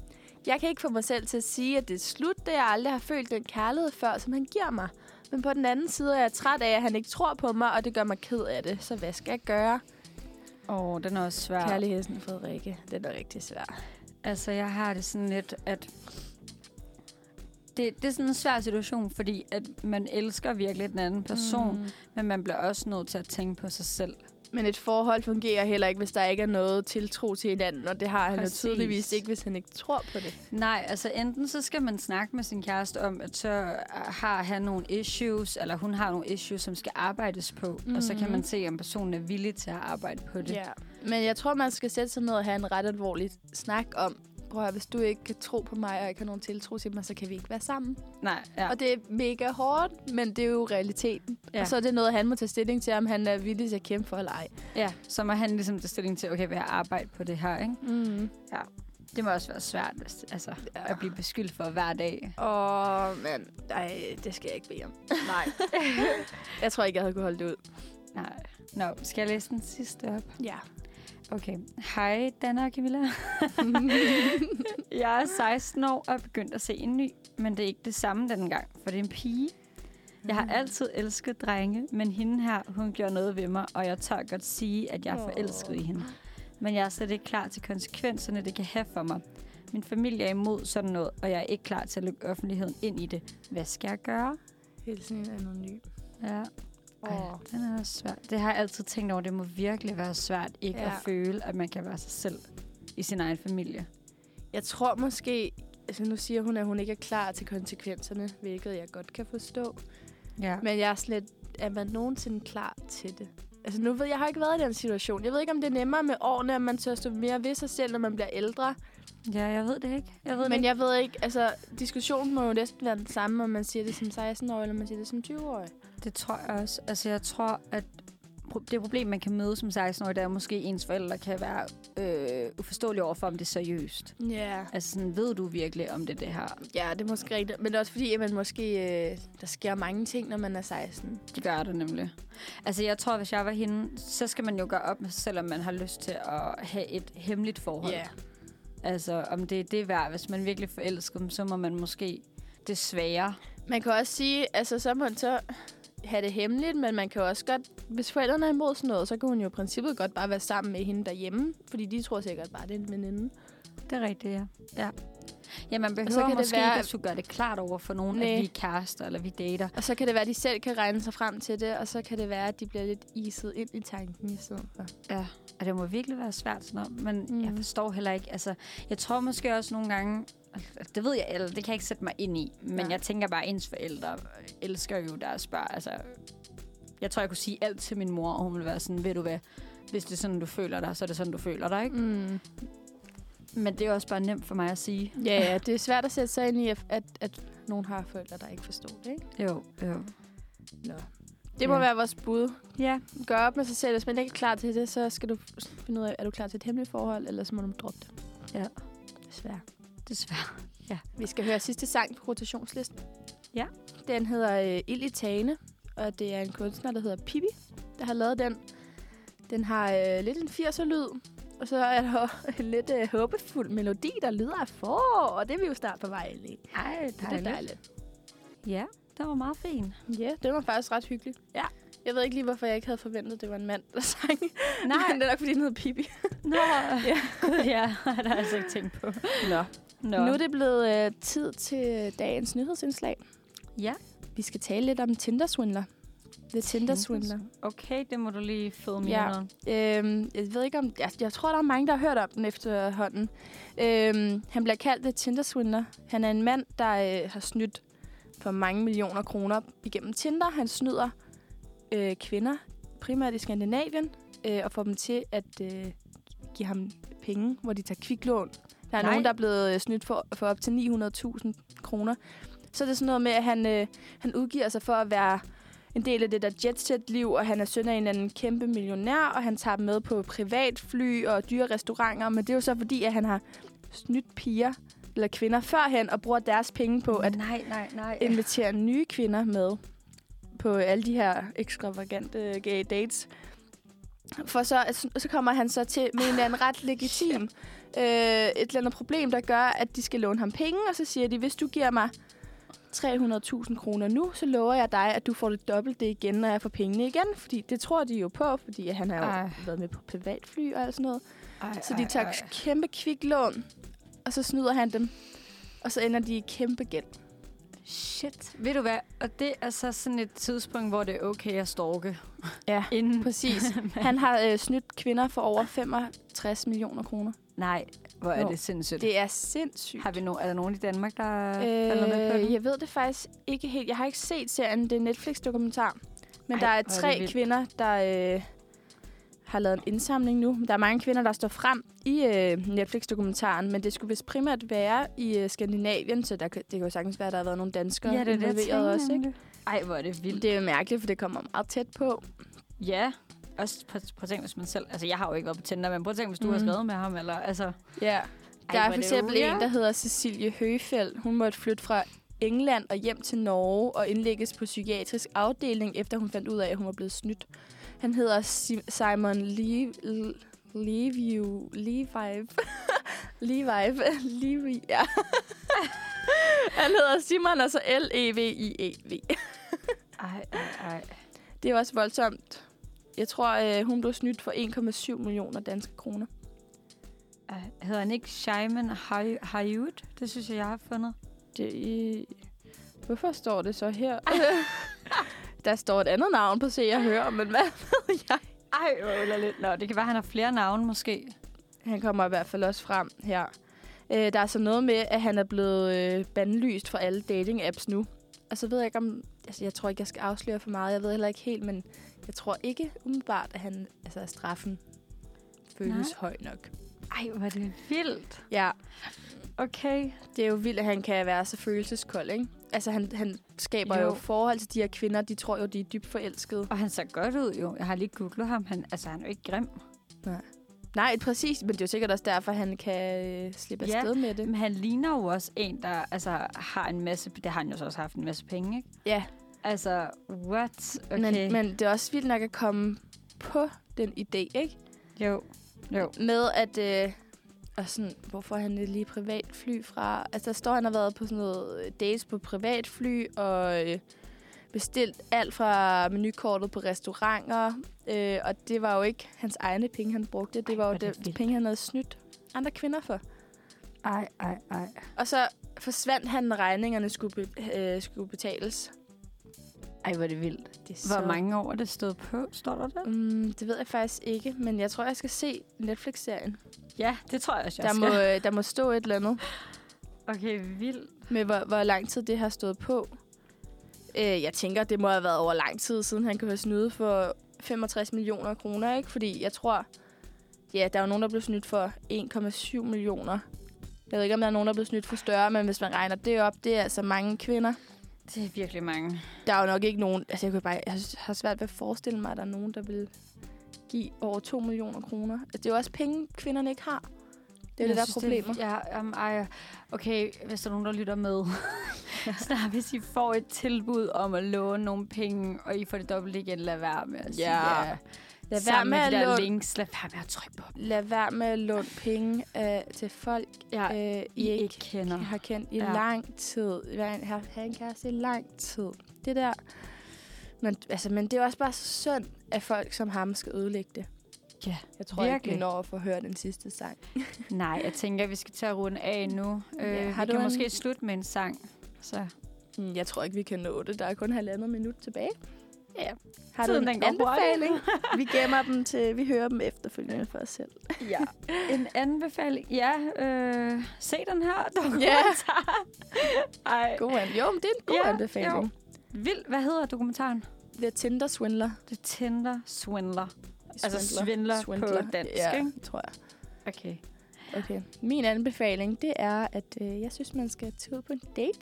B: Jeg kan ikke få mig selv til at sige, at det er slut, da jeg aldrig har følt den kærlighed før, som han giver mig. Men på den anden side er jeg træt af, at han ikke tror på mig, og det gør mig ked af det. Så hvad skal jeg gøre?
C: Åh, den er også svær.
B: Ja. Kærligheden Frederikke, den er rigtig svær.
C: Altså, jeg har det sådan lidt, at... Det, det er sådan en svær situation, fordi at man elsker virkelig den anden person, mm. men man bliver også nødt til at tænke på sig selv.
B: Men et forhold fungerer heller ikke, hvis der ikke er noget tiltro til hinanden, og det har han
C: Præcis.
B: jo tydeligvis ikke, hvis han ikke tror på det.
C: Nej, altså enten så skal man snakke med sin kæreste om, at så øh, har han nogle issues, eller hun har nogle issues, som skal arbejdes på, mm-hmm. og så kan man se, om personen er villig til at arbejde på det.
B: Ja. Men jeg tror, man skal sætte sig ned og have en ret alvorlig snak om, prøv at høre, hvis du ikke kan tro på mig, og ikke har nogen tiltro til mig, så kan vi ikke være sammen. Ja.
C: Nej, ja.
B: Og det er mega hårdt, men det er jo realiteten. Ja.
C: Ja.
B: Og så er det noget, han må tage stilling til, om han er villig til at kæmpe for eller ej.
C: ja. Så må han ligesom tage stilling til, okay, vil jeg arbejde på det her, ikke?
B: Mm.
C: Ja. Det må også være svært, hvis, altså,
B: Ja.
C: ja. at blive beskyldt for hver dag.
B: Åh, men ej, det skal jeg ikke bede om.
C: Nej.
B: Jeg tror ikke, jeg havde kunne holde det ud.
C: Nej. Nå, skal jeg læse den sidste op?
B: Ja.
C: Okay. Hej, Danne og Camilla. jeg er 16 år og er begyndt at se en ny, men det er ikke det samme denne gang, for det er en pige. Jeg
B: Mm.
C: har altid elsket drenge, men hende her, hun gjorde noget ved mig, og jeg tør godt sige, at jeg er forelsket i hende. Men jeg er slet ikke klar til konsekvenserne, det kan have for mig. Min familie er imod sådan noget, og jeg er ikke klar til at lukke offentligheden ind i det. Hvad skal jeg gøre?
B: Hilsen en anonym.
C: Ja.
B: Åh.
C: Ej, den er også svært. Det har jeg altid tænkt over. Det må virkelig være svært ikke
B: Ja.
C: ja. at føle, at man kan være sig selv i sin egen familie.
B: Jeg tror måske, altså nu siger hun, at hun ikke er klar til konsekvenserne, hvilket jeg godt kan forstå.
C: Ja.
B: Men jeg er slet, er man nogensinde klar til det? Altså nu ved jeg, jeg har ikke været i den situation. Jeg ved ikke, om det er nemmere med årene, at man tør stå mere ved sig selv, når man bliver ældre.
C: ja, jeg ved det ikke. Jeg ved det
B: Men
C: ikke.
B: jeg ved ikke, altså diskussionen må jo næsten være den samme, om man siger det som 16-årig, eller man siger det som 20-årig.
C: Det tror jeg også. Altså, jeg tror, at pro- det problem, man kan møde som 16-årig, det er at måske ens forældre kan være øh, uforståelige overfor, om det er seriøst.
B: Ja. Yeah.
C: Altså, sådan, ved du virkelig, om det er det her?
B: Ja, det er måske rigtigt. Men også fordi, at man måske, øh, der sker mange ting, når man er 16.
C: Det gør det nemlig. Altså, jeg tror, hvis jeg var hende, så skal man jo gøre op med sig selv, om man har lyst til at have et hemmeligt forhold. Altså, om det er det værd. Hvis man virkelig forelsker dem, så må man måske desværre.
B: Man kan også sige, altså så, må, så have det hemmeligt, men man kan jo også godt... Hvis forældrene er imod sådan noget, så kan hun jo i princippet godt bare være sammen med hende derhjemme. Fordi de tror sikkert bare, det er en veninde.
C: Det er rigtigt, ja. ja. Ja, man behøver
B: så kan det
C: måske
B: være-
C: ikke at skulle gøre det klart over for nogen,
B: Næ.
C: at vi er kærester eller vi dater.
B: Og så kan det være, at de selv kan regne sig frem til det, og så kan det være, at de bliver lidt iset ind i tanken i stedet for.
C: Ja, og det må virkelig være svært sådan noget, men mm. jeg
B: Mhm.
C: forstår heller ikke. Altså, jeg tror måske også nogle gange, altså, det ved jeg, eller det kan jeg ikke sætte mig ind i, men
B: Nej.
C: jeg tænker bare, at ens forældre elsker jo deres børn. Altså, jeg tror, jeg kunne sige alt til min mor, og hun ville være sådan, ved du hvad, hvis det er sådan, du føler dig, så er det sådan, du føler dig, ikke?
B: Mm.
C: Men det er også bare nemt for mig at sige.
B: Ja, ja, det er svært at sætte sig ind i, at, at, at nogen har forældre, der ikke forstår det, ikke?
C: Jo, jo.
B: Det må
C: Ja.
B: ja. være vores bud.
C: Ja,
B: Gør op med sig selv. Hvis man ikke er klar til det, så skal du finde ud af, er du klar til et hemmeligt forhold, eller så må du droppe det.
C: Ja.
B: Desværre.
C: desværre.
B: Vi skal høre sidste sang på rotationslisten.
C: Ja.
B: Den hedder øh, Ild i Tane, og det er en kunstner, der hedder Pippi, der har lavet den. Den har øh, lidt en 80'er-lyd, og så er der en lidt øh, håbefuld melodi, der lyder af forår, og det er vi jo snart på vej ind i.
C: Ej,
B: Det er dejligt.
C: Ja, det var meget fint.
B: Ja, yeah, det var faktisk ret hyggeligt.
C: Ja.
B: Jeg ved ikke lige, hvorfor jeg ikke havde forventet, at det var en mand, der sang.
C: Nej.
B: Men det er nok, fordi den hedder Pippi.
C: Nå, ja. Gud, ja, det har jeg altså ikke tænkt på.
B: Nå.
C: Nå.
B: Nu er det blevet øh, tid til dagens nyhedsindslag.
C: Ja.
B: Vi skal tale lidt om Tinder-swindler. The Tinder-swindler.
C: Okay, det må du lige føde mig
B: Ja.
C: ja.
B: Øhm, jeg ved ikke om... Jeg, jeg tror, der er mange, der har hørt om den efterhånden. Øhm, han bliver kaldt The Tinder-swindler. Han er en mand, der øh, har snydt for mange millioner kroner igennem Tinder. Han snyder øh, kvinder, primært i Skandinavien, øh, og får dem til at øh, give ham penge, hvor de tager kviklån. Der er
C: Nej.
B: Nej. nogen, der er blevet øh, snydt for, for op til 900.000 kroner. Så er det sådan noget med, at han, øh, han udgiver sig for at være en del af det der jetset-liv, og han er søn af en eller anden kæmpe millionær, og han tager dem med på privatfly og dyre restauranter, men det er jo så fordi, at han har snydt piger eller kvinder førhen, og bruger deres penge på at
C: Nej, nej, nej.
B: invitere nye kvinder med på alle de her ekstravagante gay dates. For så, så kommer han så til med en eller anden ret legitim øh, et eller andet problem, der gør, at de skal låne ham penge, og så siger de, hvis du giver mig 300.000 kroner nu, så lover jeg dig, at du får det dobbelt det igen, når jeg får pengene igen. Fordi det tror de jo på, fordi han har jo
C: Ej.
B: været med på privatfly og alt sådan noget.
C: Ej,
B: Så de tager kæmpe kviklån, og så snyder han dem. Og så ender de i kæmpe gæld.
C: Shit. Ved du hvad? Og det er så sådan et tidspunkt, hvor det er okay at storke.
B: Ja.
C: Inden...
B: Præcis. Han har øh, snydt kvinder for over 65 millioner kroner.
C: Nej, hvor er
B: Nå.
C: det sindssygt. Det...
B: Det er sindssygt.
C: Har vi no... Er der nogen i Danmark, der øh... falder med på
B: øh,
C: den?
B: jeg ved det faktisk ikke helt. Jeg har ikke set serien. Det er en Netflix-dokumentar. Men Ej, der
C: Ej, hvor
B: er
C: er det
B: tre
C: vildt.
B: kvinder, der øh, har lavet en indsamling nu. Der er mange kvinder, der står frem i øh, Netflix-dokumentaren, men det skulle vist primært være i øh, Skandinavien, så der, kan- det kan jo sagtens være, at der har været nogle danskere
C: Ja, det er det, jeg
B: involveret
C: tænker
B: også. Ikke?
C: nemlig. Ej, hvor er det vildt.
B: Det er jo mærkeligt, for det kommer meget tæt på.
C: Ja. Også prøv, prøv at tænke, hvis man selv... Altså, jeg har jo ikke været på Tinder, men prøv at tænke, hvis du mm. har
B: Mhm.
C: skrevet med ham, eller... Altså...
B: Ja. Der
C: hvor
B: er
C: det
B: for eksempel
C: weird.
B: en, der hedder Cecilie Høgefeldt. Hun måtte flytte fra England og hjem til Norge og indlægges på psykiatrisk afdeling, efter hun fandt ud af, at hun var blevet snydt. Han hedder Si- Simon Levi... Levi... Levi... Levi... Levi... Ja. Han hedder Simon, og så E L-E-V-I-E-V.
C: Ej, ej, ej.
B: Det er også voldsomt. Jeg tror, øh, hun blev snydt for 1,7 millioner danske kroner.
C: ej. Hedder han ikke Shaiman Hayud? Det synes jeg, jeg har fundet.
B: Det i... Hvorfor står det så her? der står et andet navn på Se og Hør, men hvad ved jeg?
C: Ej, hvor underligt. Nå, det kan være, han har flere navne, måske.
B: Han kommer i hvert fald også frem her. Øh, der er så noget med, at han er blevet øh, bandlyst fra alle dating-apps nu. Og så ved jeg ikke om... Altså, jeg tror ikke, jeg skal afsløre for meget. Jeg ved heller ikke helt, men jeg tror ikke umiddelbart, at han, altså, at straffen føles
C: Nej.
B: Nej. høj nok.
C: Ej, hvor er det vildt.
B: Ja,
C: Okay.
B: det er jo vildt, at han kan være så følelseskold, ikke? Altså, han, han skaber jo.
C: Jo.
B: jo forhold til de her kvinder. De tror jo, de er dybt forelskede.
C: Og han ser godt ud, jo. Jeg har lige googlet ham. Han, altså, han er jo ikke grim.
B: Nej, præcis. Men det er jo sikkert også derfor, han kan øh, slippe
C: Ja,
B: ja, afsted med det.
C: Men han ligner jo også en, der altså, har en masse... Det har han jo så også haft en masse penge, ikke?
B: Ja.
C: Altså, what? Okay.
B: Men, men det er også vildt nok at komme på den idé, ikke?
C: Jo. Jo.
B: Med at... Øh, og sådan, hvorfor han er lige privatfly fra... Altså, der står, han har været på sådan noget øh, dates på privatfly, og øh, bestilt alt fra menukortet på restauranter, øh, og det var jo ikke hans egne penge, han brugte. Det
C: Ej,
B: var jo
C: hvor er det
B: det
C: vildt.
B: penge, han havde snydt andre kvinder for.
C: Ej, ej, ej.
B: Og så forsvandt han, når regningerne skulle, be- øh, skulle betales.
C: Ej, hvor er det vildt.
B: Det er
C: Hvor mange år er det stået på? Står der det?
B: Mm, det ved jeg faktisk ikke, men jeg tror, jeg skal se Netflix-serien.
C: Ja, det tror jeg også,
B: Der må, øh, der må stå et eller andet
C: Okay, vildt.
B: med, hvor, hvor lang tid det har stået på. Øh, jeg tænker, det må have været over lang tid, siden han kunne have snydet for 65 millioner kroner, ikke? Fordi jeg tror, ja, der er jo nogen, der blev snydt for 1,7 millioner. Jeg ved ikke, om der er nogen, der er blevet snydt for større, men hvis man regner det op, det er altså mange kvinder.
C: Det er virkelig mange.
B: Der er jo nok ikke nogen... Altså, jeg, kunne bare, jeg har svært ved at forestille mig, at der er nogen, der vil give over 2 millioner kroner. Altså, det er jo også penge, kvinderne ikke har. Det er jo det, der er problemet.
C: ja, um, ej, okay, hvis der er nogen, der lytter med. Snart, hvis I får et tilbud om at låne nogle penge, og I får det dobbelt igen, lad være med at sige
B: Ja.
C: ja.
B: Lad være
C: Sammen
B: med at
C: de der
B: låne,
C: links, lad være med at trykke på dem.
B: lad være med at låne penge øh, til folk,
C: Ja,
B: øh, I,
C: I
B: ikke
C: ikke kender.
B: har kendt i
C: Ja.
B: lang tid. Være en- Have, have en kæreste i lang tid. Det der... Men, altså, men det er også bare så synd, at folk som ham skal ødelægge det.
C: Ja,
B: Jeg tror ikke, vi
C: virkelig.
B: når at få hørt den sidste sang.
C: Nej, jeg tænker, vi skal tage at runde af nu.
B: Ja,
C: Øh,
B: har
C: har vi
B: du
C: kan
B: en-
C: måske slutte med en sang. Så.
B: Mm, Jeg tror ikke, vi kan nå det. Der er kun halvandet minut tilbage.
C: Ja.
B: Har du
C: Tiden,
B: en
C: den går hurtigt.
B: anbefaling? vi gemmer dem til, vi hører dem efterfølgende for os selv.
C: Ja. En anbefaling. Ja, øh, se den her dokumentar. Ej,
B: God an- jo, men det er en god
C: Ja,
B: anbefaling.
C: jo. vild. Hvad hedder dokumentaren?
B: The Tinder Swindler.
C: The Tinder Swindler. Altså svindler på dansk,
B: ja,
C: ikke?
B: tror jeg.
C: Okay.
B: Okay. Min anbefaling, det er, at øh, jeg synes, man skal tage ud på en date.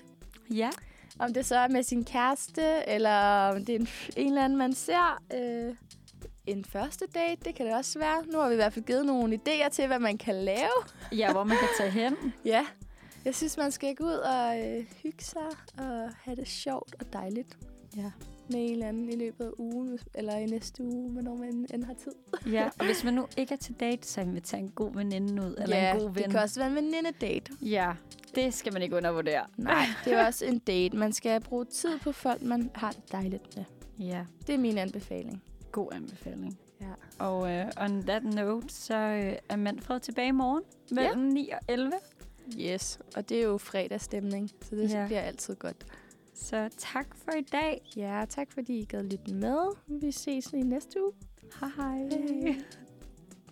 C: Ja.
B: Om det så er med sin kæreste, eller om det er en, en eller anden, man ser. Øh, en første date, det kan det også være. Nu har vi i hvert fald givet nogle idéer til, hvad man kan lave.
C: Ja, hvor man kan tage hen.
B: Ja. Jeg synes, man skal gå ud og øh, hygge sig og have det sjovt og dejligt
C: Ja.
B: med en eller anden i løbet af ugen, hvis- eller i næste uge, hvornår man end har tid.
C: Ja, og hvis man nu ikke er til date, så vil tage en god veninde ud, eller en god ven.
B: det kan også være en veninde-date.
C: Ja, det skal man ikke undervurdere.
B: Nej, det er også en date. Man skal bruge tid på folk, man har det dejligt med.
C: Ja,
B: Det er min anbefaling.
C: god anbefaling.
B: Ja.
C: Og uh, on that note, så øh, er Manfred tilbage i morgen mellem ja. 9 og 11.
B: Yes, og det er jo fredagsstemning, så det
C: Ja.
B: bliver altid godt.
C: Så tak for i dag.
B: Ja, tak fordi I gad lytte med. Vi ses i næste uge.
C: Hej hej.
B: Hej.